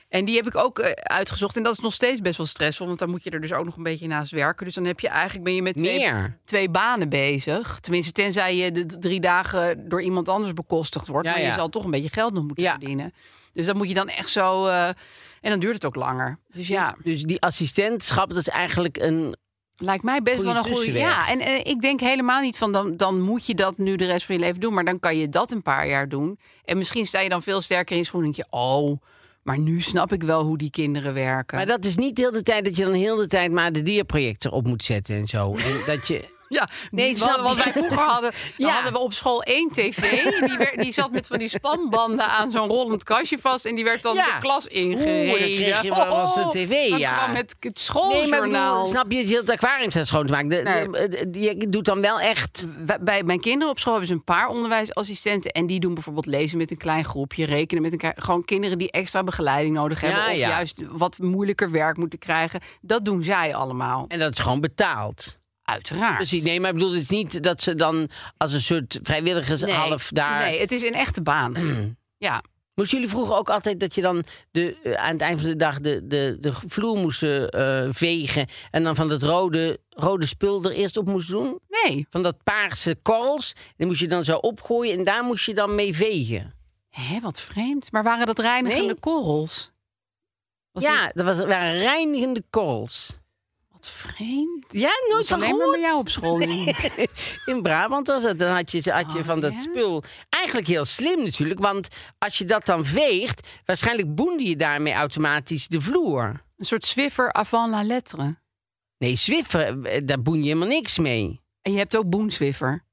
En die heb ik ook eh, uitgezocht. En dat is nog steeds best wel stressvol. Want dan moet je er dus ook nog een beetje naast werken. Dus dan heb je eigenlijk ben je met twee,
meer.
twee banen bezig. Tenminste, tenzij je de d- drie dagen door iemand anders bekostigd wordt.
Ja,
maar
ja.
je zal toch een beetje geld nog moeten
Ja.
verdienen. Dus dat moet je dan echt zo. eh, en dan duurt het ook langer. Dus ja,
Dus die assistentschap, dat is eigenlijk een...
lijkt mij best
Goeie
wel een goede.
tussenweg.
Ja, en, en ik denk helemaal niet van dan, dan moet je dat nu de rest van je leven doen. Maar dan kan je dat een paar jaar doen. En misschien sta je dan veel sterker in je schoenen. Denk je, oh, maar nu snap ik wel hoe die kinderen werken.
Maar dat is niet heel de tijd dat je dan heel de tijd maar de dierproject erop moet zetten en zo. En dat je...
Ja,
Nee,
nee,
ik
ik
snap
Wat
je.
wij vroeger hadden, dan
Ja.
hadden we op school één tv. En die, werd, die zat met van die spanbanden aan zo'n rollend kastje vast. En die werd dan
Ja.
de klas ingereden. Oh,
Oeh, dan kreeg je wel eens een tv,
dan
ja.
kwam het, het
Nee, maar ik bedoel,
schooljournaal.
snap je dat je het aquarium staat schoon te maken? De- de- de- je doet dan wel echt...
Wij- Bij mijn kinderen op school hebben ze een paar onderwijsassistenten. En die doen bijvoorbeeld lezen met een klein groepje, rekenen met een klein- Gewoon kinderen die extra begeleiding nodig hebben.
Ja,
of
ja.
juist wat moeilijker werk moeten krijgen. Dat doen zij allemaal.
En dat is gewoon betaald.
Uiteraard.
Dus ik- nee, maar ik bedoel, het is niet dat ze dan als een soort vrijwilligers
Nee,
half daar...
Nee, het is een echte baan. ja.
Moesten jullie vroeger ook altijd dat je dan de, eh, aan het eind van de dag de, de, de vloer moest eh, vegen... en dan van dat rode, rode spul er eerst op moest doen?
Nee.
Van dat paarse korrels. Die moest je dan zo opgooien en daar moest je dan mee vegen.
Hé, wat vreemd. Maar waren dat reinigende
Nee.
korrels? Was
ja,
die-
dat was, waren reinigende korrels.
Wat vreemd.
Ja,
Dat
nooit
was
van
alleen maar bij
gehoord.
jou op school. Lien.
In Brabant was dat. Dan had je, had je
Oh,
van dat
ja?
spul. Eigenlijk heel slim natuurlijk. Want als je dat dan veegt, waarschijnlijk boende je daarmee automatisch de vloer.
Een soort Swiffer avant la lettre.
Nee, Zwiffer, eh, daar boen je helemaal niks mee.
En je hebt ook boenswiffer.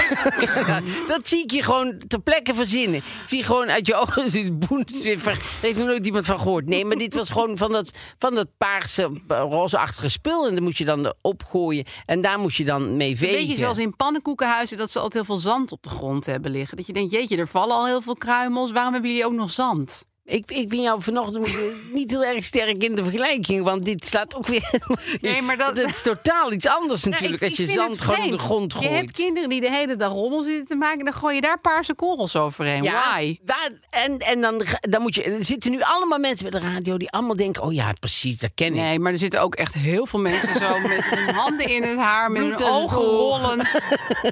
Mm.
Dat zie ik je gewoon ter plekke verzinnen. Ik zie gewoon uit je ogen zit boenswiffer. Daar heeft nog nooit iemand van gehoord. Nee, maar dit was gewoon van dat, van dat paarse, eh, rozeachtige spul. En dat moest je dan opgooien. En daar moest je dan mee
Een
vegen.
beetje zoals in pannenkoekenhuizen dat ze altijd heel veel zand op de grond hebben liggen. Dat je denkt, jeetje, er vallen al heel veel kruimels. Waarom hebben jullie ook nog zand?
ik, ik vind jou vanochtend eh, niet heel erg sterk in de vergelijking. Want dit slaat ook weer...
Nee, maar dat-
is totaal iets anders
Nou,
natuurlijk.
ik-
als
ik
je
vind
zand
het
gewoon op de
vreemd.
grond gooit.
Je hebt kinderen die de hele dag rommel zitten te maken. En dan gooi je daar paarse korrels overheen. Why?
waar- en, en dan, ga- dan moet je... Er zitten nu allemaal mensen bij de radio die allemaal denken... Oh ja, precies, dat ken ik.
Nee, maar er zitten ook echt heel veel mensen zo met hun handen in het haar, met
Bloed
hun
uit het
ogen
oog.
rollend.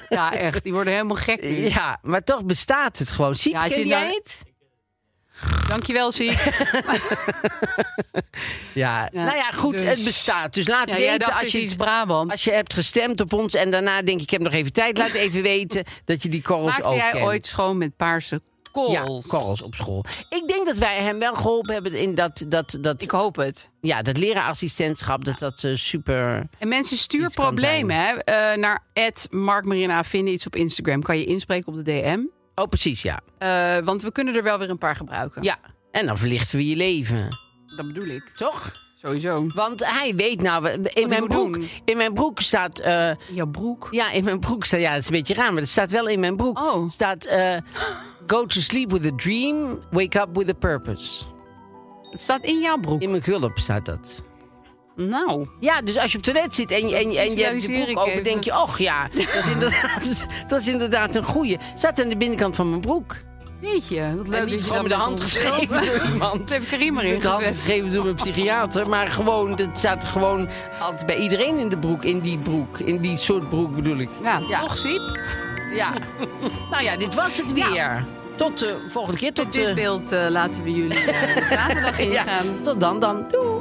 Ja, echt. Die worden helemaal gek nu.
Ja, maar toch bestaat het gewoon. Siep,
Ja,
ken
zit
jij
nou-
het?
Dankjewel, Siek.
Ja.
Ja,
nou ja, goed,
dus-
het bestaat. Dus laat
Ja, jij
weten
dacht
als
dus
je,
iets Brabant.
als je hebt gestemd op ons... en daarna denk ik, ik heb nog even tijd. Laat even weten dat je die korrels
Maakte
ook
jij
kent.
ooit schoon met paarse korrels?
Ja, korrels op school. Ik denk dat wij hem wel geholpen hebben in dat, dat, dat,
Ik hoop het.
ja, dat leraarassistentschap. Dat dat eh, super...
En mensen, stuur
Iets kan
problemen hè, eh, naar Mark Marina. Vinden iets op Instagram. Kan je inspreken op de DM.
Oh, precies, ja.
Eh, want we kunnen er wel weer een paar gebruiken.
Ja, en dan verlichten we je leven.
Dat bedoel ik.
Toch?
Sowieso.
Want hij weet nou... we- In, mijn
moet
broek,
doen.
in mijn broek staat... eh,
Jouw broek.
Ja, in mijn broek staat. Ja, het is een beetje raar, maar het staat wel in mijn broek.
Oh.
Staat. eh, go to sleep with a dream, wake up with a purpose.
Het staat in jouw broek.
In mijn gulp staat dat.
Nou.
Ja, dus als je op het toilet zit en, je- en, je- en je hebt je
visualiseer
broek
ik
open,
even.
denk je: Och ja, dat is inderdaad, dat is inderdaad een goeie. Staat aan de binnenkant van mijn broek.
Weet je, wat leuk
en
dat
niet
je
gewoon
dat
met de
met
hand
ons
geschreven
deelt.
door iemand.
Dat heeft Karim erin
Met de hand
gezet.
geschreven door mijn psychiater. Maar gewoon, dat staat gewoon altijd bij iedereen in de broek. In die broek. In die soort broek bedoel ik.
Ja, toch Siep?
Ja. nou ja, dit was het weer. Tot de volgende keer. Tot,
Nou. Tot dit
eh,
beeld eh, laten we jullie eh, zaterdag
ja,
ingaan.
tot dan dan. Doei.